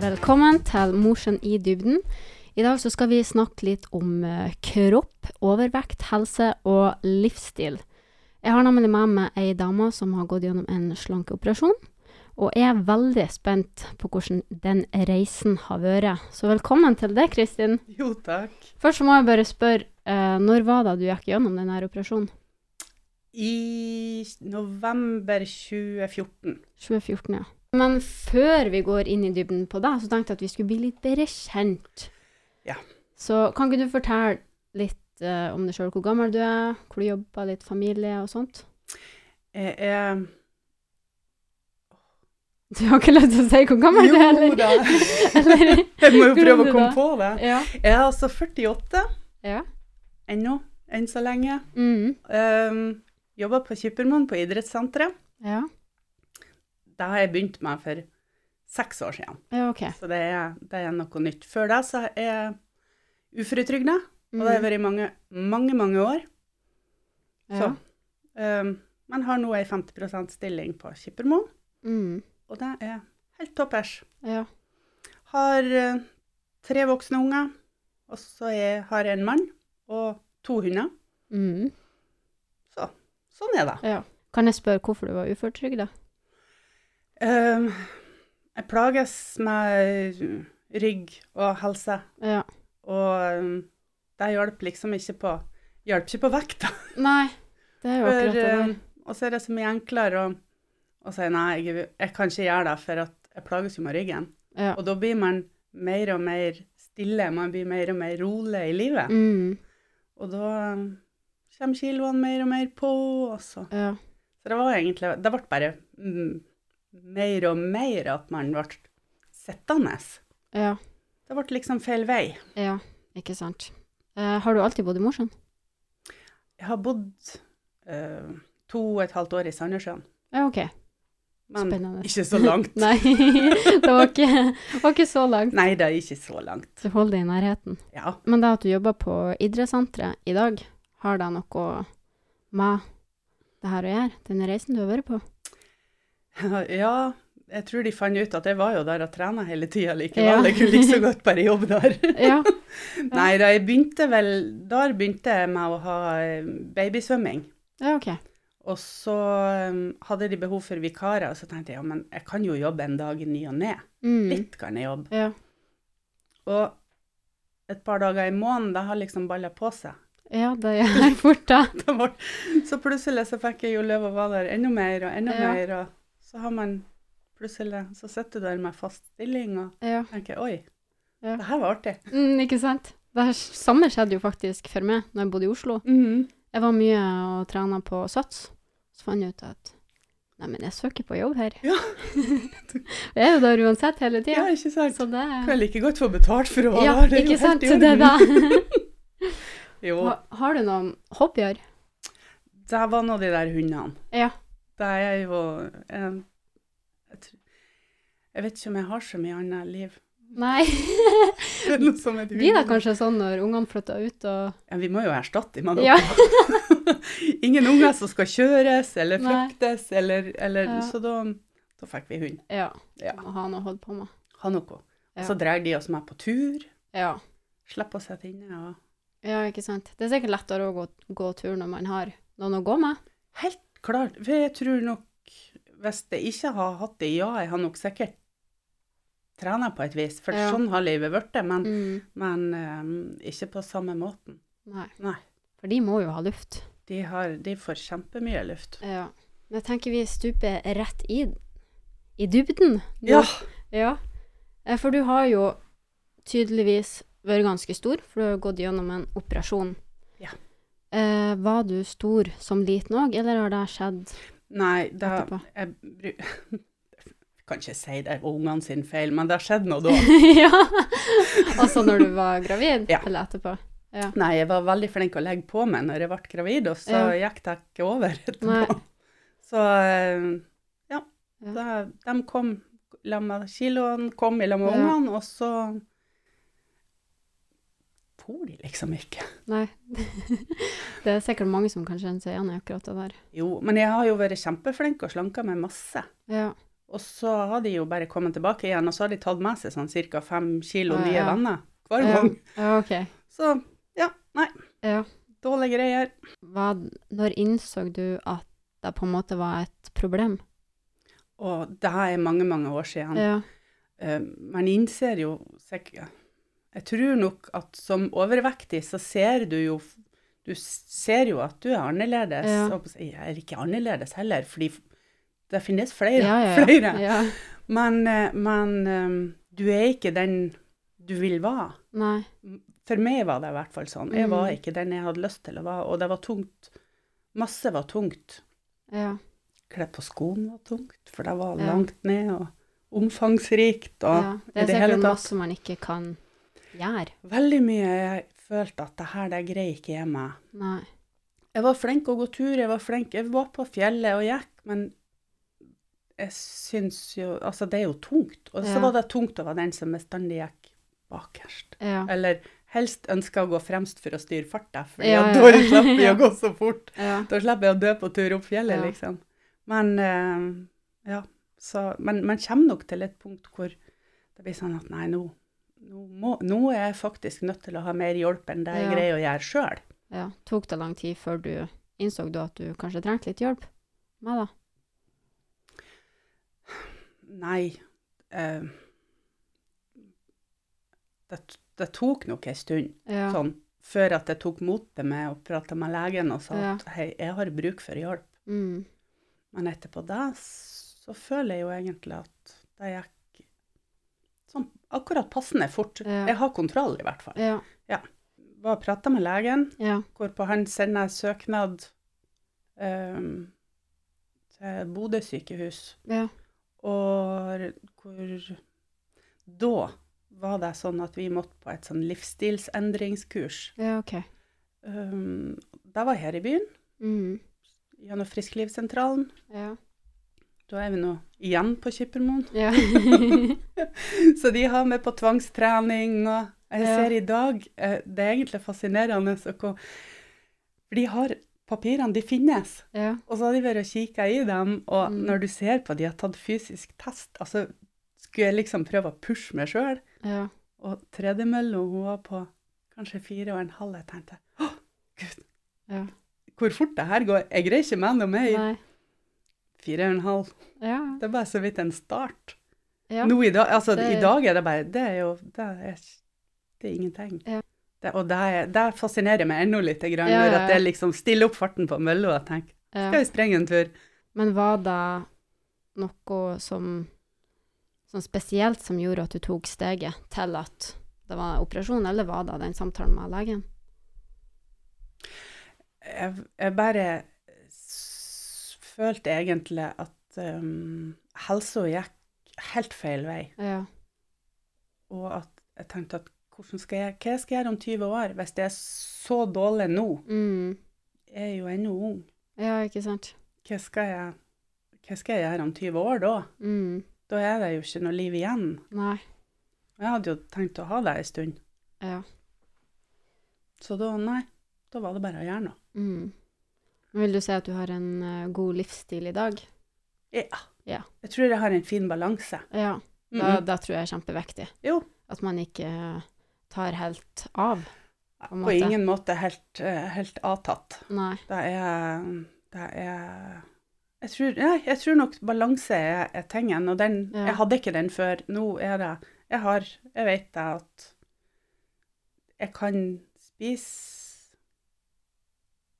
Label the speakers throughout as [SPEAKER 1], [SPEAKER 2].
[SPEAKER 1] Velkommen til Mosjøen i dybden. I dag så skal vi snakke litt om eh, kropp, overvekt, helse og livsstil. Jeg har nemlig med meg ei dame som har gått gjennom en slankeoperasjon, og jeg er veldig spent på hvordan den reisen har vært. Så velkommen til deg, Kristin.
[SPEAKER 2] Jo, takk.
[SPEAKER 1] Først så må jeg bare spørre, eh, når var det du gikk gjennom denne operasjonen?
[SPEAKER 2] I november 2014.
[SPEAKER 1] 2014, ja. Men før vi går inn i dybden på deg, så tenkte jeg at vi skulle bli litt bedre kjent.
[SPEAKER 2] Ja.
[SPEAKER 1] Så kan ikke du fortelle litt eh, om deg sjøl, hvor gammel du er, hvor du jobber, litt familie og sånt?
[SPEAKER 2] Jeg er
[SPEAKER 1] Du har ikke lyst til å si hvor gammel du er,
[SPEAKER 2] Jo
[SPEAKER 1] eller?
[SPEAKER 2] da!
[SPEAKER 1] eller
[SPEAKER 2] Jeg må jo prøve
[SPEAKER 1] Hvordan
[SPEAKER 2] å
[SPEAKER 1] du
[SPEAKER 2] komme
[SPEAKER 1] da?
[SPEAKER 2] på det.
[SPEAKER 1] ja.
[SPEAKER 2] Jeg er altså 48
[SPEAKER 1] ja.
[SPEAKER 2] ennå, enn så lenge.
[SPEAKER 1] Mm,
[SPEAKER 2] Um, jobber på Kippermoen på idrettssenteret.
[SPEAKER 1] ja.
[SPEAKER 2] Det har jeg begynt med for seks år siden,
[SPEAKER 1] Ja, OK.
[SPEAKER 2] så det er, det er noe nytt. Før det så er jeg uføretrygda, og
[SPEAKER 1] Mm,
[SPEAKER 2] det har jeg vært i mange, mange, mange år.
[SPEAKER 1] ja.
[SPEAKER 2] Så, um, men har nå ei 50 %-stilling på Kippermoen,
[SPEAKER 1] Mm,
[SPEAKER 2] og det er helt toppers.
[SPEAKER 1] ja.
[SPEAKER 2] Har eh, tre voksne unger, og så er, har jeg en mann og to hunder.
[SPEAKER 1] Mm,
[SPEAKER 2] Sånn er det.
[SPEAKER 1] ja. Kan jeg spørre hvorfor du var uføretrygda?
[SPEAKER 2] Um, jeg plages med rygg og helse,
[SPEAKER 1] Ja.
[SPEAKER 2] og um, det hjalp liksom ikke på Hjalp ikke på vekta.
[SPEAKER 1] Nei, det er jo
[SPEAKER 2] For,
[SPEAKER 1] akkurat det der.
[SPEAKER 2] eh, Og så er det så mye enklere å, å si nei, jeg, jeg kan ikke gjøre det, for at jeg plages jo med ryggen.
[SPEAKER 1] Ja.
[SPEAKER 2] Og da blir man mer og mer stille, man blir mer og mer rolig i livet.
[SPEAKER 1] Mm,
[SPEAKER 2] Og da um, kommer kiloene mer og mer på, og så
[SPEAKER 1] ja.
[SPEAKER 2] Så det var egentlig Det ble bare mm, mer og mer at man ble sittende.
[SPEAKER 1] Ja.
[SPEAKER 2] Det ble liksom feil vei.
[SPEAKER 1] Ja, ikke sant. Eh, har du alltid bodd i Mosjøen?
[SPEAKER 2] Jeg har bodd eh, to og et halvt år i Sandnessjøen,
[SPEAKER 1] Ja, OK.
[SPEAKER 2] men
[SPEAKER 1] Spennende.
[SPEAKER 2] ikke så langt. nei.
[SPEAKER 1] Nei, det var ikke, det var ikke så langt.
[SPEAKER 2] det er ikke så langt.
[SPEAKER 1] Så hold deg i nærheten.
[SPEAKER 2] Ja.
[SPEAKER 1] Men det at du jobber på idrettssenteret i dag, har det noe med det her å gjøre? Denne reisen du har vært på?
[SPEAKER 2] ja, jeg tror de fant ut at jeg var jo der og trena hele tida
[SPEAKER 1] Ja.
[SPEAKER 2] likevel. Jeg kunne like så godt bare jobbe der.
[SPEAKER 1] Ja.
[SPEAKER 2] Nei da, jeg begynte vel Der begynte jeg med å ha eh, babysvømming.
[SPEAKER 1] Ja, OK.
[SPEAKER 2] Og så eh, hadde de behov for vikarer, og så tenkte jeg ja, men jeg kan jo jobbe en dag i ny og ne.
[SPEAKER 1] Mm.
[SPEAKER 2] Litt kan jeg jobbe.
[SPEAKER 1] Ja.
[SPEAKER 2] Og et par dager i måneden, det har liksom balla på seg.
[SPEAKER 1] ja, det gjør jeg fort, da.
[SPEAKER 2] Det var, så plutselig så fikk jeg jo lov å være der enda mer og enda
[SPEAKER 1] Ja.
[SPEAKER 2] mer, og så har man plutselig Så sitter du der med fast stilling og
[SPEAKER 1] Ja.
[SPEAKER 2] tenker oi,
[SPEAKER 1] Ja.
[SPEAKER 2] det her var artig.
[SPEAKER 1] Mm, ikke sant? Det her samme skjedde jo faktisk for meg når jeg bodde i Oslo. Jeg var mye og trena på Sats. Så fant jeg ut at nei, men jeg søker på jobb her.
[SPEAKER 2] Ja.
[SPEAKER 1] jeg er jo der uansett hele
[SPEAKER 2] Ja,
[SPEAKER 1] tida.
[SPEAKER 2] ikke sant?
[SPEAKER 1] så det
[SPEAKER 2] Kan jeg like godt få betalt for å være
[SPEAKER 1] Ja,
[SPEAKER 2] der? det er jo
[SPEAKER 1] ikke
[SPEAKER 2] helt
[SPEAKER 1] sant?
[SPEAKER 2] i
[SPEAKER 1] Det er
[SPEAKER 2] orden.
[SPEAKER 1] det.
[SPEAKER 2] Jo,
[SPEAKER 1] Ha- Har du noen hobbyer?
[SPEAKER 2] det var nå de der hundene.
[SPEAKER 1] Ja.
[SPEAKER 2] Det er jo eh, jeg, tror, jeg vet ikke om jeg har så mye annet liv.
[SPEAKER 1] Nei.
[SPEAKER 2] Det er noe som et
[SPEAKER 1] Blir det
[SPEAKER 2] hund.
[SPEAKER 1] kanskje sånn når ungene flytter ut og
[SPEAKER 2] Ja, vi må jo erstatte dem.
[SPEAKER 1] Ja.
[SPEAKER 2] Ingen unger som skal kjøres eller
[SPEAKER 1] Nei.
[SPEAKER 2] fraktes, eller, eller
[SPEAKER 1] Ja.
[SPEAKER 2] Så da, da fikk vi hund.
[SPEAKER 1] Ja.
[SPEAKER 2] Ja.
[SPEAKER 1] Må ha noe å holde på med.
[SPEAKER 2] Ha noe.
[SPEAKER 1] Ja.
[SPEAKER 2] Og så drar de oss med på tur.
[SPEAKER 1] Ja.
[SPEAKER 2] Slipper å sitte inne. Og...
[SPEAKER 1] ja, ikke sant. Det er sikkert lettere å gå, gå tur når man har noen å gå med.
[SPEAKER 2] Helt klart. For jeg tror nok Hvis jeg ikke har hatt det, ja, jeg har nok sikkert trent på et vis, for
[SPEAKER 1] Ja.
[SPEAKER 2] sånn har livet blitt, men,
[SPEAKER 1] Mm.
[SPEAKER 2] men eh, ikke på samme måten.
[SPEAKER 1] Nei.
[SPEAKER 2] Nei.
[SPEAKER 1] For de må jo ha luft.
[SPEAKER 2] De, har, de får kjempemye luft.
[SPEAKER 1] Ja. Men jeg tenker vi stuper rett i, i dybden. nå.
[SPEAKER 2] Ja.
[SPEAKER 1] Ja, Eh, for du har jo tydeligvis vært ganske stor, for du har jo gått gjennom en operasjon.
[SPEAKER 2] Ja.
[SPEAKER 1] Eh, var du stor som liten òg, eller har det skjedd?
[SPEAKER 2] Nei, da
[SPEAKER 1] Etterpå.
[SPEAKER 2] jeg, bru- jeg kan ikke si det var ungene sin feil, men det skjedde noe da.
[SPEAKER 1] ja! Altså når du var gravid,
[SPEAKER 2] Ja.
[SPEAKER 1] eller etterpå?
[SPEAKER 2] Nei, jeg var veldig flink å legge på meg når jeg ble gravid, og så gikk det ikke over etterpå.
[SPEAKER 1] Nei.
[SPEAKER 2] Så eh, ja,
[SPEAKER 1] Ja.
[SPEAKER 2] Da, de kom i lag med kiloen, kom i lag med
[SPEAKER 1] Ja.
[SPEAKER 2] ungene, og så for de liksom ikke.
[SPEAKER 1] Nei. det er sikkert mange som kan kjenne seg igjen i akkurat det der.
[SPEAKER 2] Jo, men jeg har jo vært kjempeflink og slanka meg masse.
[SPEAKER 1] Ja.
[SPEAKER 2] Og så har de jo bare kommet tilbake igjen, og så har de tatt med seg sånn ca. fem kilo
[SPEAKER 1] Ja, Ah,
[SPEAKER 2] nye
[SPEAKER 1] ja.
[SPEAKER 2] venner hver
[SPEAKER 1] Ja,
[SPEAKER 2] gang.
[SPEAKER 1] ja, ok.
[SPEAKER 2] Så ja, nei,
[SPEAKER 1] Ja.
[SPEAKER 2] dårlige greier.
[SPEAKER 1] Hva, når innså du at det på en måte var et problem?
[SPEAKER 2] Og det her er mange, mange år siden.
[SPEAKER 1] Ja.
[SPEAKER 2] Eh, Man innser jo sikkert Jeg tror nok at som overvektig så ser du jo Du ser jo at du er annerledes.
[SPEAKER 1] Ja.
[SPEAKER 2] Og jeg er ikke annerledes heller, fordi det finnes flere.
[SPEAKER 1] Ja, ja, ja.
[SPEAKER 2] flere.
[SPEAKER 1] ja.
[SPEAKER 2] Men, eh, men eh, du er ikke den du vil være.
[SPEAKER 1] Nei.
[SPEAKER 2] For meg var det i hvert fall sånn. Jeg
[SPEAKER 1] Mm.
[SPEAKER 2] var ikke den jeg hadde lyst til å være, og det var tungt. Masse var tungt.
[SPEAKER 1] Ja.
[SPEAKER 2] Kledd på skoene var tungt, for det var
[SPEAKER 1] Ja.
[SPEAKER 2] langt ned og omfangsrikt. Og
[SPEAKER 1] ja. Det
[SPEAKER 2] i
[SPEAKER 1] er
[SPEAKER 2] det hele
[SPEAKER 1] sikkert
[SPEAKER 2] tatt.
[SPEAKER 1] masse man ikke kan gjøre.
[SPEAKER 2] veldig mye jeg følte at det her, det greier ikke jeg meg.
[SPEAKER 1] Nei.
[SPEAKER 2] Jeg var flink å gå tur, jeg var flink, jeg var på fjellet og gikk, men jeg syns jo Altså, det er jo tungt. Og så
[SPEAKER 1] Ja.
[SPEAKER 2] var det tungt å være den som bestandig gikk bakerst.
[SPEAKER 1] Ja.
[SPEAKER 2] Eller helst ønsker å gå fremst for å styre farta, for
[SPEAKER 1] Ja, ja.
[SPEAKER 2] da slipper jeg å gå så fort.
[SPEAKER 1] Ja.
[SPEAKER 2] Da slipper jeg å dø på tur opp fjellet,
[SPEAKER 1] Ja.
[SPEAKER 2] liksom. Men eh, ja, så Men man kommer nok til et punkt hvor det blir sånn at nei, nå, nå, må, nå er jeg faktisk nødt til å ha mer hjelp enn det jeg
[SPEAKER 1] Ja.
[SPEAKER 2] greier å gjøre sjøl.
[SPEAKER 1] ja. Tok det lang tid før du innså du at du kanskje trengte litt hjelp? Meg, da?
[SPEAKER 2] Nei. eh, det, det tok nok ei stund.
[SPEAKER 1] Ja.
[SPEAKER 2] sånn, før at jeg tok motet med å prate med legen og sa
[SPEAKER 1] Ja.
[SPEAKER 2] at hei, jeg har bruk for hjelp.
[SPEAKER 1] Mm.
[SPEAKER 2] Men etterpå det så føler jeg jo egentlig at det gikk sånn akkurat passende fort.
[SPEAKER 1] Ja.
[SPEAKER 2] Jeg har kontroll, i hvert fall.
[SPEAKER 1] Ja.
[SPEAKER 2] Var og prata med legen,
[SPEAKER 1] Ja.
[SPEAKER 2] hvorpå han sender søknad ehm, til Bodø sykehus,
[SPEAKER 1] Ja.
[SPEAKER 2] og hvor Da var det sånn at vi måtte på et sånn livsstilsendringskurs.
[SPEAKER 1] ja OK.
[SPEAKER 2] Um, det var her i byen,
[SPEAKER 1] Mm.
[SPEAKER 2] gjennom Frisklivssentralen.
[SPEAKER 1] Ja.
[SPEAKER 2] Da er vi nå igjen på Kippermoen.
[SPEAKER 1] Ja.
[SPEAKER 2] Så de har med på tvangstrening, og jeg
[SPEAKER 1] Ja.
[SPEAKER 2] ser i dag eh, Det er egentlig fascinerende så hvor For de har papirene, de finnes.
[SPEAKER 1] ja.
[SPEAKER 2] Og så har de vært og kikka i dem, og
[SPEAKER 1] Mm.
[SPEAKER 2] når du ser på de har tatt fysisk test Altså, skulle jeg liksom prøve å pushe meg sjøl?
[SPEAKER 1] Ja.
[SPEAKER 2] Og tredemølla, hun var på kanskje fire og en halv, jeg tenkte Å, gud!
[SPEAKER 1] Ja.
[SPEAKER 2] Hvor fort det her går. Jeg greier ikke meg noe mer.
[SPEAKER 1] Nei.
[SPEAKER 2] Fire og en halv.
[SPEAKER 1] Ja.
[SPEAKER 2] Det er bare så vidt en start.
[SPEAKER 1] Ja.
[SPEAKER 2] Nå i dag, altså
[SPEAKER 1] Det-
[SPEAKER 2] i dag er det bare Det er jo Det er, ikke- det er ingenting.
[SPEAKER 1] Ja.
[SPEAKER 2] Det, og det, er, det fascinerer meg ennå litt, grann,
[SPEAKER 1] Ja, ja,
[SPEAKER 2] når at
[SPEAKER 1] ja.
[SPEAKER 2] jeg liksom stiller opp farten på mølla og tenker
[SPEAKER 1] ja.
[SPEAKER 2] Skal vi sprenge en tur?
[SPEAKER 1] Men var det noe som sånn spesielt som gjorde at du tok steget til at det var operasjon, eller var det den samtalen med legen?
[SPEAKER 2] Jeg, jeg bare s følte egentlig at um, helsa gikk helt feil vei,
[SPEAKER 1] Ja.
[SPEAKER 2] og at jeg tenkte at hvordan skal jeg, hva skal jeg gjøre om 20 år hvis det er så dårlig nå?
[SPEAKER 1] Mm.
[SPEAKER 2] Jeg er jo ennå ung.
[SPEAKER 1] Ja, ikke sant?
[SPEAKER 2] hva skal jeg, hva skal jeg gjøre om 20 år da?
[SPEAKER 1] Mm.
[SPEAKER 2] Da er det jo ikke noe liv igjen.
[SPEAKER 1] Nei.
[SPEAKER 2] Jeg hadde jo tenkt å ha det en stund.
[SPEAKER 1] Ja.
[SPEAKER 2] Så da, nei, da var det bare å gjøre noe.
[SPEAKER 1] Mm. Men Vil du si at du har en eh, god livsstil i dag?
[SPEAKER 2] Ja.
[SPEAKER 1] Ja.
[SPEAKER 2] Jeg tror jeg har en fin balanse.
[SPEAKER 1] Ja,
[SPEAKER 2] Mm
[SPEAKER 1] da, da tror jeg er kjempeviktig.
[SPEAKER 2] Jo.
[SPEAKER 1] At man ikke eh, tar helt av.
[SPEAKER 2] På,
[SPEAKER 1] en måte.
[SPEAKER 2] ingen måte helt, eh, helt avtatt.
[SPEAKER 1] Nei.
[SPEAKER 2] Det er, det er jeg tror, nei, jeg tror nok balanse er, er tingen, og den,
[SPEAKER 1] Ja.
[SPEAKER 2] jeg hadde ikke den før. Nå er det, jeg har, jeg vet det at jeg kan spise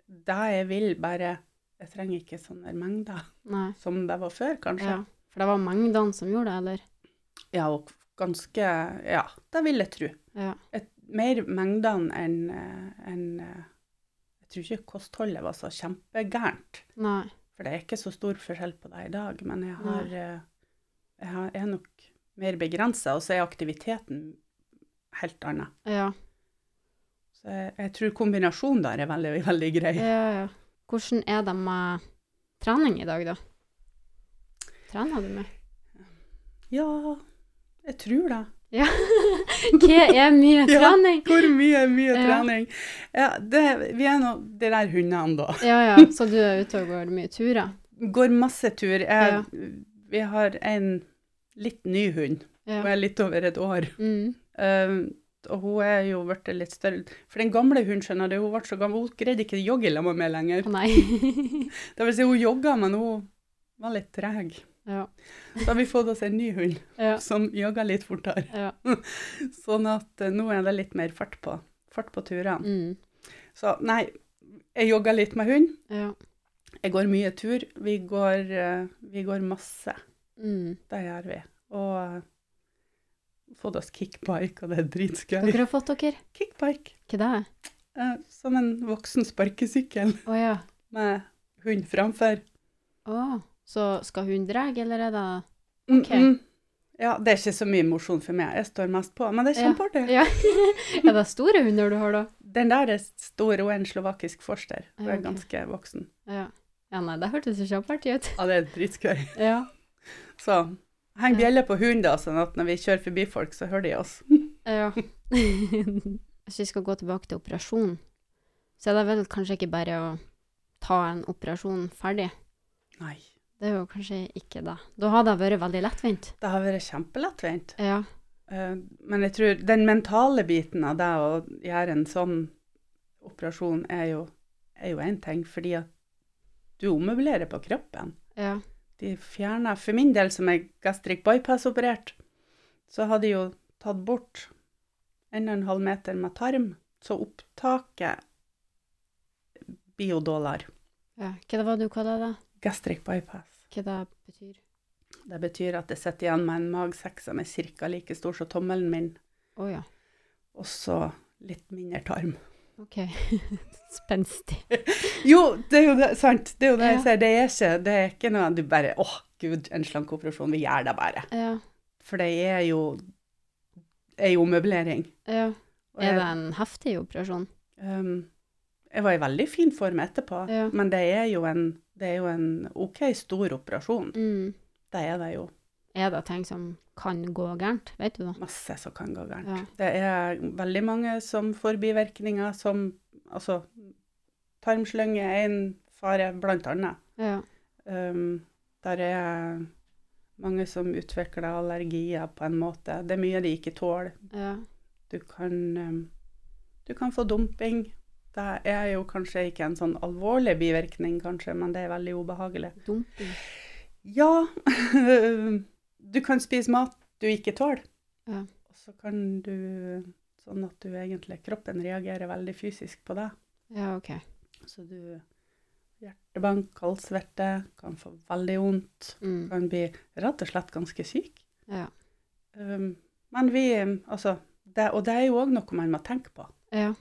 [SPEAKER 2] det jeg vil, bare jeg trenger ikke sånne mengder
[SPEAKER 1] Nei.
[SPEAKER 2] som det var før, kanskje.
[SPEAKER 1] Ja. For det var mengdene som gjorde det, eller?
[SPEAKER 2] Ja, og ganske, ja, det vil jeg tro.
[SPEAKER 1] Ja.
[SPEAKER 2] Et, mer mengdene enn, eh, enn, eh, jeg tror ikke kostholdet var så kjempegærent.
[SPEAKER 1] Nei.
[SPEAKER 2] For det er ikke så stor forskjell på det i dag, men jeg, har, eh, jeg har, er nok mer begrensa, og så er aktiviteten helt annen.
[SPEAKER 1] Ja.
[SPEAKER 2] Så jeg, jeg tror kombinasjonen der er veldig, veldig grei.
[SPEAKER 1] Ja, ja. Hvordan er det med trening i dag, da? Trener du med?
[SPEAKER 2] Ja, jeg tror det.
[SPEAKER 1] Hva er mye
[SPEAKER 2] Ja.
[SPEAKER 1] trening?
[SPEAKER 2] Hvor mye er mye
[SPEAKER 1] Ja.
[SPEAKER 2] trening? Ja, det, vi er nå de der hundene, da.
[SPEAKER 1] Ja, ja, så du er ute og går mye turer?
[SPEAKER 2] Går masse tur. Jeg,
[SPEAKER 1] Ja.
[SPEAKER 2] Vi har en litt ny hund. Hun
[SPEAKER 1] Ja.
[SPEAKER 2] er litt over et år.
[SPEAKER 1] Mm.
[SPEAKER 2] Um, og hun er jo blitt litt større. For den gamle hunden, skjønner du, hun ble så gammel, hun greide ikke å jogge sammen med meg lenger.
[SPEAKER 1] Å nei.
[SPEAKER 2] Det vil si, hun jogga, men hun var litt treg.
[SPEAKER 1] ja.
[SPEAKER 2] Så har vi fått oss en ny hund
[SPEAKER 1] Ja.
[SPEAKER 2] som jogger litt fortere.
[SPEAKER 1] ja.
[SPEAKER 2] Sånn at eh, nå er det litt mer fart på. Fart på turene.
[SPEAKER 1] Mm.
[SPEAKER 2] Så nei, jeg jogger litt med hund.
[SPEAKER 1] ja.
[SPEAKER 2] Jeg går mye tur. Vi går, eh, vi går masse.
[SPEAKER 1] Mm.
[SPEAKER 2] Det gjør vi. Og eh, fått oss kickbike, og det er dritskøy.
[SPEAKER 1] Dere har fått dere?
[SPEAKER 2] Kickbike.
[SPEAKER 1] Hva det er?
[SPEAKER 2] eh, Som en voksen sparkesykkel.
[SPEAKER 1] Å ja.
[SPEAKER 2] med hund framfor.
[SPEAKER 1] Å. Så skal hun dra, eller er det Ok.
[SPEAKER 2] Mm, mm. Ja, det er ikke så mye mosjon for meg. Jeg står mest på, men det er
[SPEAKER 1] Ja.
[SPEAKER 2] kjempeartig.
[SPEAKER 1] Ja. Er det store hunder du har, da?
[SPEAKER 2] Den der er stor, hun er en slovakisk forster. Hun
[SPEAKER 1] Ja,
[SPEAKER 2] er
[SPEAKER 1] ok.
[SPEAKER 2] ganske voksen.
[SPEAKER 1] Ja. ja, nei, det hørtes jo kjempeartig ut.
[SPEAKER 2] Ja, det er dritskøy.
[SPEAKER 1] Ja.
[SPEAKER 2] Så heng
[SPEAKER 1] Ja.
[SPEAKER 2] bjelle på hunden, da, sånn at når vi kjører forbi folk, så hører de oss.
[SPEAKER 1] Ja. Hvis vi skal gå tilbake til operasjon, så er det vel kanskje ikke bare å ta en operasjon ferdig.
[SPEAKER 2] Nei.
[SPEAKER 1] Det er jo kanskje ikke det. Da hadde det vært veldig lettvint.
[SPEAKER 2] Det har vært kjempelettvint.
[SPEAKER 1] Ja.
[SPEAKER 2] Eh, Men jeg tror den mentale biten av det å gjøre en sånn operasjon, er jo er jo én ting, fordi at du ommøblerer på kroppen.
[SPEAKER 1] Ja.
[SPEAKER 2] de fjerna For min del, som er gastric bypass-operert, så har de jo tatt bort 1,5 meter med tarm, så opptaket blir jo dårligere.
[SPEAKER 1] ja. Hva det var du kalte det?
[SPEAKER 2] Gastric bypass.
[SPEAKER 1] Hva det betyr?
[SPEAKER 2] Det betyr at jeg sitter igjen med en magsekk som er ca. like stor som tommelen min,
[SPEAKER 1] Å ja.
[SPEAKER 2] og så litt mindre tarm.
[SPEAKER 1] Ok. Spenstig.
[SPEAKER 2] Jo, det er jo det, sant. Det er jo det jeg
[SPEAKER 1] Ja.
[SPEAKER 2] sier. Det er ikke, det er ikke noe du bare Å, gud, en slankeoperasjon. Vi gjør det bare.
[SPEAKER 1] Ja.
[SPEAKER 2] For det er jo, er jo møblering.
[SPEAKER 1] ja. Er
[SPEAKER 2] Og jeg-
[SPEAKER 1] det en heftig operasjon?
[SPEAKER 2] Um, jeg var i veldig fin form etterpå,
[SPEAKER 1] Ja.
[SPEAKER 2] men det er, jo en, det er jo en OK stor operasjon.
[SPEAKER 1] Mm.
[SPEAKER 2] Det er det jo
[SPEAKER 1] Er det ting som kan gå gærent? Vet du det?
[SPEAKER 2] masse som kan gå gærent.
[SPEAKER 1] Ja.
[SPEAKER 2] Det er veldig mange som får bivirkninger som Altså, tarmslynge er en fare, blant annet.
[SPEAKER 1] Ja.
[SPEAKER 2] Um, der er mange som utvikler allergier på en måte. Det er mye de ikke tåler.
[SPEAKER 1] Ja.
[SPEAKER 2] Du kan, um, du kan få dumping. Det er jo kanskje ikke en sånn alvorlig bivirkning, kanskje, men det er veldig ubehagelig.
[SPEAKER 1] Dumping.
[SPEAKER 2] Ja, du kan spise mat du ikke tåler.
[SPEAKER 1] Ja.
[SPEAKER 2] Og så kan du Sånn at du egentlig Kroppen reagerer veldig fysisk på det.
[SPEAKER 1] Ja, ok.
[SPEAKER 2] Så du Hjertebank, kaldsvette, kan få veldig vondt.
[SPEAKER 1] Mm.
[SPEAKER 2] Kan bli rett og slett ganske syk.
[SPEAKER 1] Ja.
[SPEAKER 2] Um, men vi um, Altså, det, og det er jo òg noe man må tenke på.
[SPEAKER 1] Ja.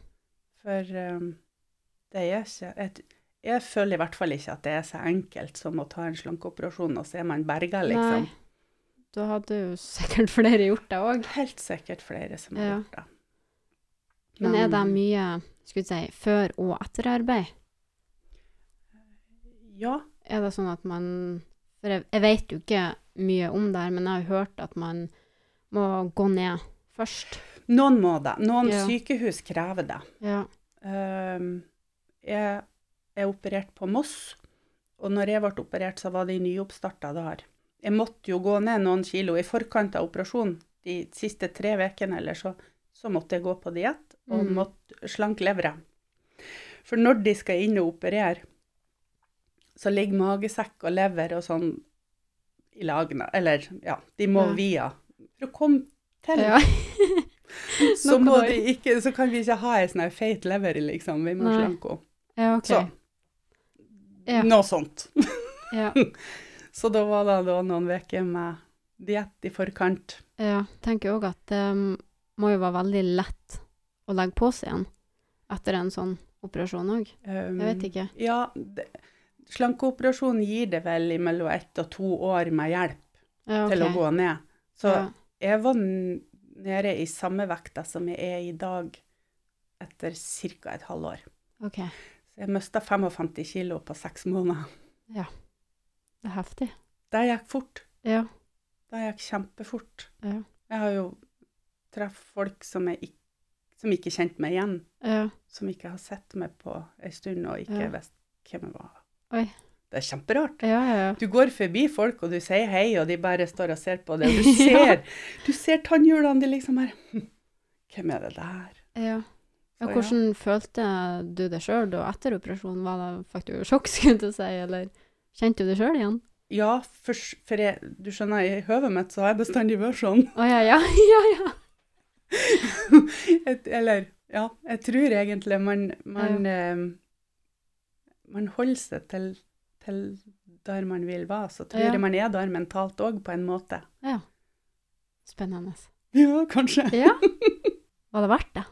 [SPEAKER 2] For um, det er ikke et, Jeg føler i hvert fall ikke at det er så enkelt som å ta en slankeoperasjon, og så er man berga, liksom.
[SPEAKER 1] Nei. Da hadde jo sikkert flere gjort det òg.
[SPEAKER 2] Helt sikkert flere som har
[SPEAKER 1] Ja.
[SPEAKER 2] gjort det.
[SPEAKER 1] Men er det mye skulle jeg si, før- og etterarbeid?
[SPEAKER 2] Ja.
[SPEAKER 1] Er det sånn at man For jeg, jeg vet jo ikke mye om det her, men jeg har jo hørt at man må gå ned først.
[SPEAKER 2] Noen må det. Noen
[SPEAKER 1] Ja.
[SPEAKER 2] sykehus krever det.
[SPEAKER 1] Ja.
[SPEAKER 2] Um, jeg er operert på Moss, og når jeg ble operert, så var de nyoppstarta der. Jeg måtte jo gå ned noen kilo i forkant av operasjonen. De siste tre ukene eller så, så måtte jeg gå på diett og
[SPEAKER 1] Mm.
[SPEAKER 2] måtte slanke levra. For når de skal inn og operere, så ligger magesekk og lever og sånn i lag nå. Eller ja, de må
[SPEAKER 1] Ja.
[SPEAKER 2] via. For å komme til
[SPEAKER 1] Ja.
[SPEAKER 2] så,
[SPEAKER 1] Noe
[SPEAKER 2] må
[SPEAKER 1] der.
[SPEAKER 2] de ikke, så kan vi ikke ha ei sånn her feit lever, liksom. Vi må
[SPEAKER 1] Nei.
[SPEAKER 2] slanke henne.
[SPEAKER 1] ja, OK.
[SPEAKER 2] Så.
[SPEAKER 1] Ja.
[SPEAKER 2] Noe sånt.
[SPEAKER 1] Ja,
[SPEAKER 2] Så da var det da noen uker med diett i forkant.
[SPEAKER 1] ja. Tenker òg at det må jo være veldig lett å legge på seg igjen etter en sånn operasjon òg.
[SPEAKER 2] Um,
[SPEAKER 1] Jeg vet ikke.
[SPEAKER 2] Ja, det, slankeoperasjonen gir det vel mellom ett og to år med hjelp
[SPEAKER 1] Ja,
[SPEAKER 2] til å
[SPEAKER 1] ok.
[SPEAKER 2] gå ned. Så
[SPEAKER 1] ja.
[SPEAKER 2] jeg var n- nede i samme vekta som jeg er i dag etter ca. et halvår.
[SPEAKER 1] OK.
[SPEAKER 2] Så jeg mista 55 kilo på seks måneder.
[SPEAKER 1] Det er heftig.
[SPEAKER 2] Det gikk fort.
[SPEAKER 1] Ja.
[SPEAKER 2] Det gikk kjempefort.
[SPEAKER 1] Ja.
[SPEAKER 2] Jeg har jo treffe folk som, jeg, ikk- som ikke kjente meg igjen,
[SPEAKER 1] Ja.
[SPEAKER 2] som ikke har sett meg på ei stund og ikke
[SPEAKER 1] Ja.
[SPEAKER 2] visste hvem jeg var.
[SPEAKER 1] Oi.
[SPEAKER 2] Det er kjemperart.
[SPEAKER 1] Ja, ja, ja.
[SPEAKER 2] Du går forbi folk, og du sier hei, og de bare står og ser på det. Og du
[SPEAKER 1] Ja.
[SPEAKER 2] ser, du ser tannhjulene de liksom her «Hm, Hvem er det der?
[SPEAKER 1] ja. ja
[SPEAKER 2] Så
[SPEAKER 1] hvordan følte du det sjøl da etter operasjonen? Var det Fikk du sjokk, skulle jeg til å si, eller kjente du det sjøl igjen?
[SPEAKER 2] Ja, for, for jeg, du skjønner, i høvet mitt så har jeg bestandig vært sånn.
[SPEAKER 1] Å ja, ja, ja, ja.
[SPEAKER 2] Et, eller ja, jeg tror egentlig man Man, eh, man holder seg til, til der man vil være. Så tror
[SPEAKER 1] Ja.
[SPEAKER 2] jeg man er der mentalt òg, på en måte.
[SPEAKER 1] Spennende.
[SPEAKER 2] Ja, kanskje.
[SPEAKER 1] Ja. Var det verdt det?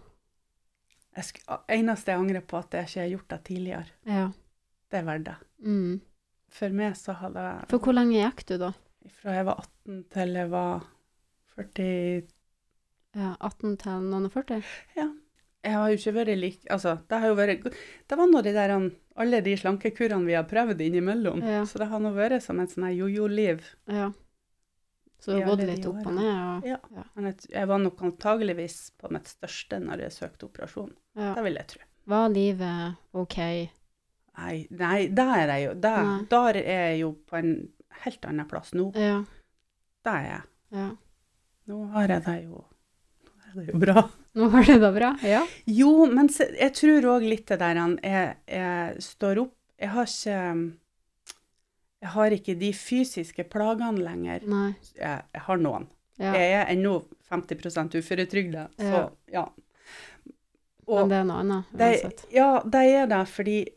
[SPEAKER 2] Jeg sk eneste jeg angrer på, at jeg ikke har gjort det tidligere.
[SPEAKER 1] Ja.
[SPEAKER 2] Det er verdt det.
[SPEAKER 1] Mm.
[SPEAKER 2] For meg så har det
[SPEAKER 1] For hvor lenge gikk du, da?
[SPEAKER 2] Fra jeg var 18 til jeg var 40
[SPEAKER 1] Ja, 18 til noen og 40?
[SPEAKER 2] Jeg har jo ikke vært lik Altså, det har jo vært Det var nå de der han- Alle de slankekurene vi har prøvd innimellom.
[SPEAKER 1] Ja.
[SPEAKER 2] Så det har nå vært som et sånn her jojo-liv.
[SPEAKER 1] Ja. Så du
[SPEAKER 2] I
[SPEAKER 1] har gått
[SPEAKER 2] alle de
[SPEAKER 1] litt opp og
[SPEAKER 2] årene.
[SPEAKER 1] ned? Og,
[SPEAKER 2] Ja. Men jeg, jeg var nok antageligvis på mitt største når jeg søkte operasjon.
[SPEAKER 1] ja.
[SPEAKER 2] Det vil jeg tro.
[SPEAKER 1] Var livet OK?
[SPEAKER 2] Nei, nei, der er jeg jo
[SPEAKER 1] Nei.
[SPEAKER 2] der, der er jeg jo på en helt annen plass nå.
[SPEAKER 1] Ja.
[SPEAKER 2] Der er jeg.
[SPEAKER 1] ja.
[SPEAKER 2] Nå har jeg det jo Nå er det jo bra.
[SPEAKER 1] Nå var det da bra? Ja.
[SPEAKER 2] Jo, men se- jeg tror òg litt det der han jeg, jeg står opp Jeg har ikke Jeg har ikke de fysiske plagene lenger.
[SPEAKER 1] Nei.
[SPEAKER 2] Jeg, jeg har noen.
[SPEAKER 1] Ja.
[SPEAKER 2] Jeg er ennå 50 uføretrygda, så
[SPEAKER 1] Ja.
[SPEAKER 2] ja.
[SPEAKER 1] Men
[SPEAKER 2] Og
[SPEAKER 1] det er noe annet
[SPEAKER 2] det,
[SPEAKER 1] uansett.
[SPEAKER 2] ja, det er det fordi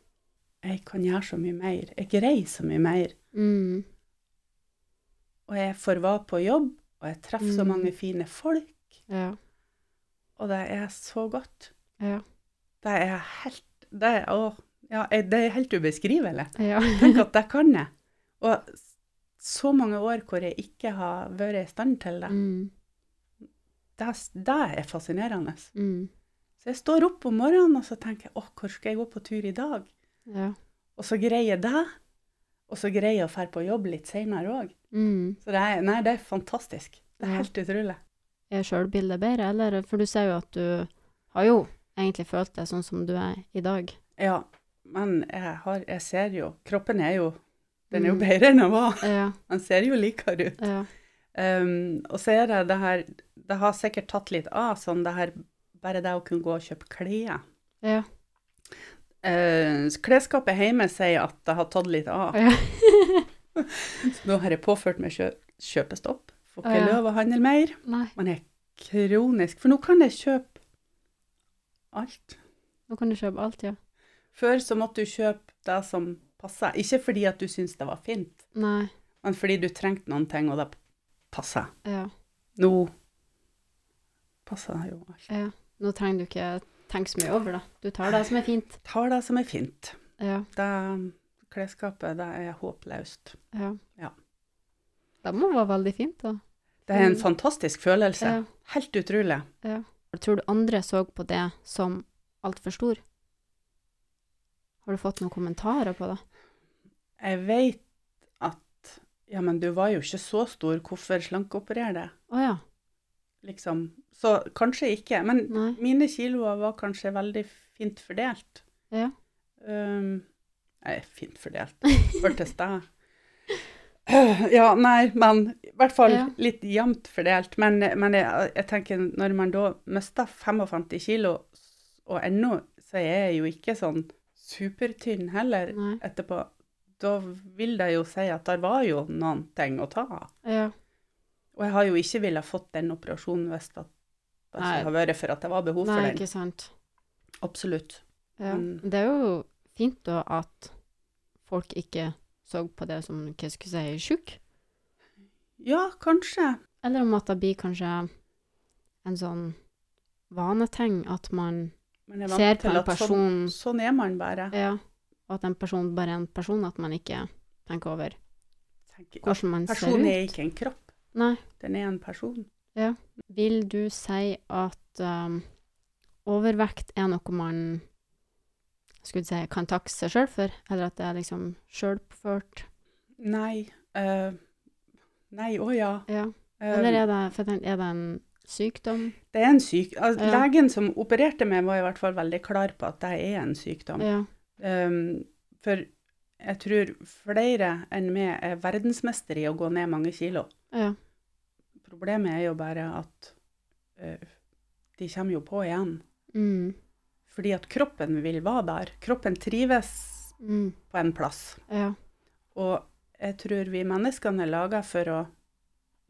[SPEAKER 2] jeg kan gjøre så mye mer. Jeg greier så mye mer.
[SPEAKER 1] Mm.
[SPEAKER 2] Og jeg får være på jobb, og jeg treffer så
[SPEAKER 1] Mm.
[SPEAKER 2] mange fine folk,
[SPEAKER 1] Ja.
[SPEAKER 2] og det er så godt.
[SPEAKER 1] Ja.
[SPEAKER 2] Det er helt Det er, å, ja, jeg- det er helt ubeskrivelig.
[SPEAKER 1] ja.
[SPEAKER 2] Tenk at jeg kan det. Og s- så mange år hvor jeg ikke har vært i stand til det.
[SPEAKER 1] Mm.
[SPEAKER 2] Det, s- det er fascinerende.
[SPEAKER 1] Mm.
[SPEAKER 2] Så jeg står opp om morgenen og så tenker jeg, åh, hvor skal jeg gå på tur i dag?
[SPEAKER 1] Ja.
[SPEAKER 2] Og så greier jeg det. Og så greier jeg å dra på jobb litt senere òg.
[SPEAKER 1] Mm.
[SPEAKER 2] Så det er, nei, det er fantastisk. Det
[SPEAKER 1] Ja.
[SPEAKER 2] er helt utrolig.
[SPEAKER 1] Er sjølbildet bedre, eller? For du sier jo at du har jo egentlig følt deg sånn som du er i dag.
[SPEAKER 2] Ja, men jeg, har, jeg ser jo Kroppen er jo Den er jo
[SPEAKER 1] Mm.
[SPEAKER 2] bedre enn den var.
[SPEAKER 1] Ja.
[SPEAKER 2] Den ser jo likere ut.
[SPEAKER 1] Ja.
[SPEAKER 2] Um, og så er det det her Det har sikkert tatt litt av, sånn det her Bare det å kunne gå og kjøpe klær.
[SPEAKER 1] Ja.
[SPEAKER 2] Eh, klesskapet hjemme sier at det har tatt litt av.
[SPEAKER 1] Ja.
[SPEAKER 2] Så nå har jeg påført meg kjø kjøpestopp. Får ikke
[SPEAKER 1] Ja.
[SPEAKER 2] lov å handle mer.
[SPEAKER 1] Nei.
[SPEAKER 2] Man er kronisk For nå kan jeg kjøpe alt.
[SPEAKER 1] Nå kan du kjøpe alt, ja.
[SPEAKER 2] Før så måtte du kjøpe det som passa. Ikke fordi at du syntes det var fint,
[SPEAKER 1] Nei.
[SPEAKER 2] men fordi du trengte noen ting, og det passa.
[SPEAKER 1] Ja.
[SPEAKER 2] Nå passer det jo alt.
[SPEAKER 1] ja. Nå trenger du ikke tenke så mye over det. Du tar det som er fint.
[SPEAKER 2] Tar det som er fint.
[SPEAKER 1] Ja.
[SPEAKER 2] Det klesskapet, det er håpløst.
[SPEAKER 1] Ja.
[SPEAKER 2] Ja.
[SPEAKER 1] Det må være veldig fint, da.
[SPEAKER 2] Det er en
[SPEAKER 1] Mm.
[SPEAKER 2] fantastisk følelse.
[SPEAKER 1] Ja.
[SPEAKER 2] Helt utrolig.
[SPEAKER 1] Tror du andre så på det som altfor stor? Har du fått noen kommentarer på det?
[SPEAKER 2] Jeg vet at Ja, men du var jo ikke så stor, hvorfor slankeoperere deg?
[SPEAKER 1] Å ja.
[SPEAKER 2] Liksom. Så kanskje ikke. Men
[SPEAKER 1] Nei.
[SPEAKER 2] mine kiloer var kanskje veldig fint fordelt.
[SPEAKER 1] Ja.
[SPEAKER 2] Um, nei, fint fordelt. Hørtes det Ja, nei, men i hvert fall
[SPEAKER 1] Ja.
[SPEAKER 2] litt jevnt fordelt. Men, men jeg, jeg tenker når man da mister 55 kilo, og ennå, så er jeg jo ikke sånn supertynn heller
[SPEAKER 1] Nei.
[SPEAKER 2] etterpå, da vil det jo si at der var jo noen ting å ta av.
[SPEAKER 1] Ja.
[SPEAKER 2] Og jeg har jo ikke ville fått den operasjonen hvis det det
[SPEAKER 1] Nei.
[SPEAKER 2] ikke har vært for at det var behov
[SPEAKER 1] Nei,
[SPEAKER 2] for den.
[SPEAKER 1] ikke sant.
[SPEAKER 2] Absolutt.
[SPEAKER 1] Ja.
[SPEAKER 2] Mm.
[SPEAKER 1] Det er jo fint da at folk ikke så på det som hva skulle jeg si, sjuk.
[SPEAKER 2] Ja, kanskje.
[SPEAKER 1] Eller om at det blir kanskje en sånn vaneting at man
[SPEAKER 2] Men jeg er
[SPEAKER 1] ser
[SPEAKER 2] vant
[SPEAKER 1] på
[SPEAKER 2] til
[SPEAKER 1] en
[SPEAKER 2] at sånn,
[SPEAKER 1] person
[SPEAKER 2] sånn er man bare.
[SPEAKER 1] Ja. Og at en person bare er en person, at man ikke tenker over
[SPEAKER 2] Tenker, at
[SPEAKER 1] hvordan man ser
[SPEAKER 2] personen er
[SPEAKER 1] ut.
[SPEAKER 2] ikke en kropp,
[SPEAKER 1] Nei.
[SPEAKER 2] den er en person.
[SPEAKER 1] Vil du si at um, overvekt er noe man skulle si, kan takke seg sjøl for, eller at det er liksom sjølpåført?
[SPEAKER 2] Nei. eh, nei, å ja.
[SPEAKER 1] Ja.
[SPEAKER 2] Eh,
[SPEAKER 1] Eller er det, for jeg tenker, er det en Sykdom.
[SPEAKER 2] Det er en syk... Altså,
[SPEAKER 1] Ja.
[SPEAKER 2] Legen som opererte meg, var i hvert fall veldig klar på at det er en sykdom.
[SPEAKER 1] Ja.
[SPEAKER 2] Um, for jeg tror flere enn meg er verdensmester i å gå ned mange kilo.
[SPEAKER 1] ja.
[SPEAKER 2] Problemet er jo bare at eh, de kommer jo på igjen.
[SPEAKER 1] Mm.
[SPEAKER 2] Fordi at kroppen vil være der. Kroppen trives
[SPEAKER 1] Mm.
[SPEAKER 2] på en plass.
[SPEAKER 1] Ja.
[SPEAKER 2] Og jeg tror vi menneskene er laga for å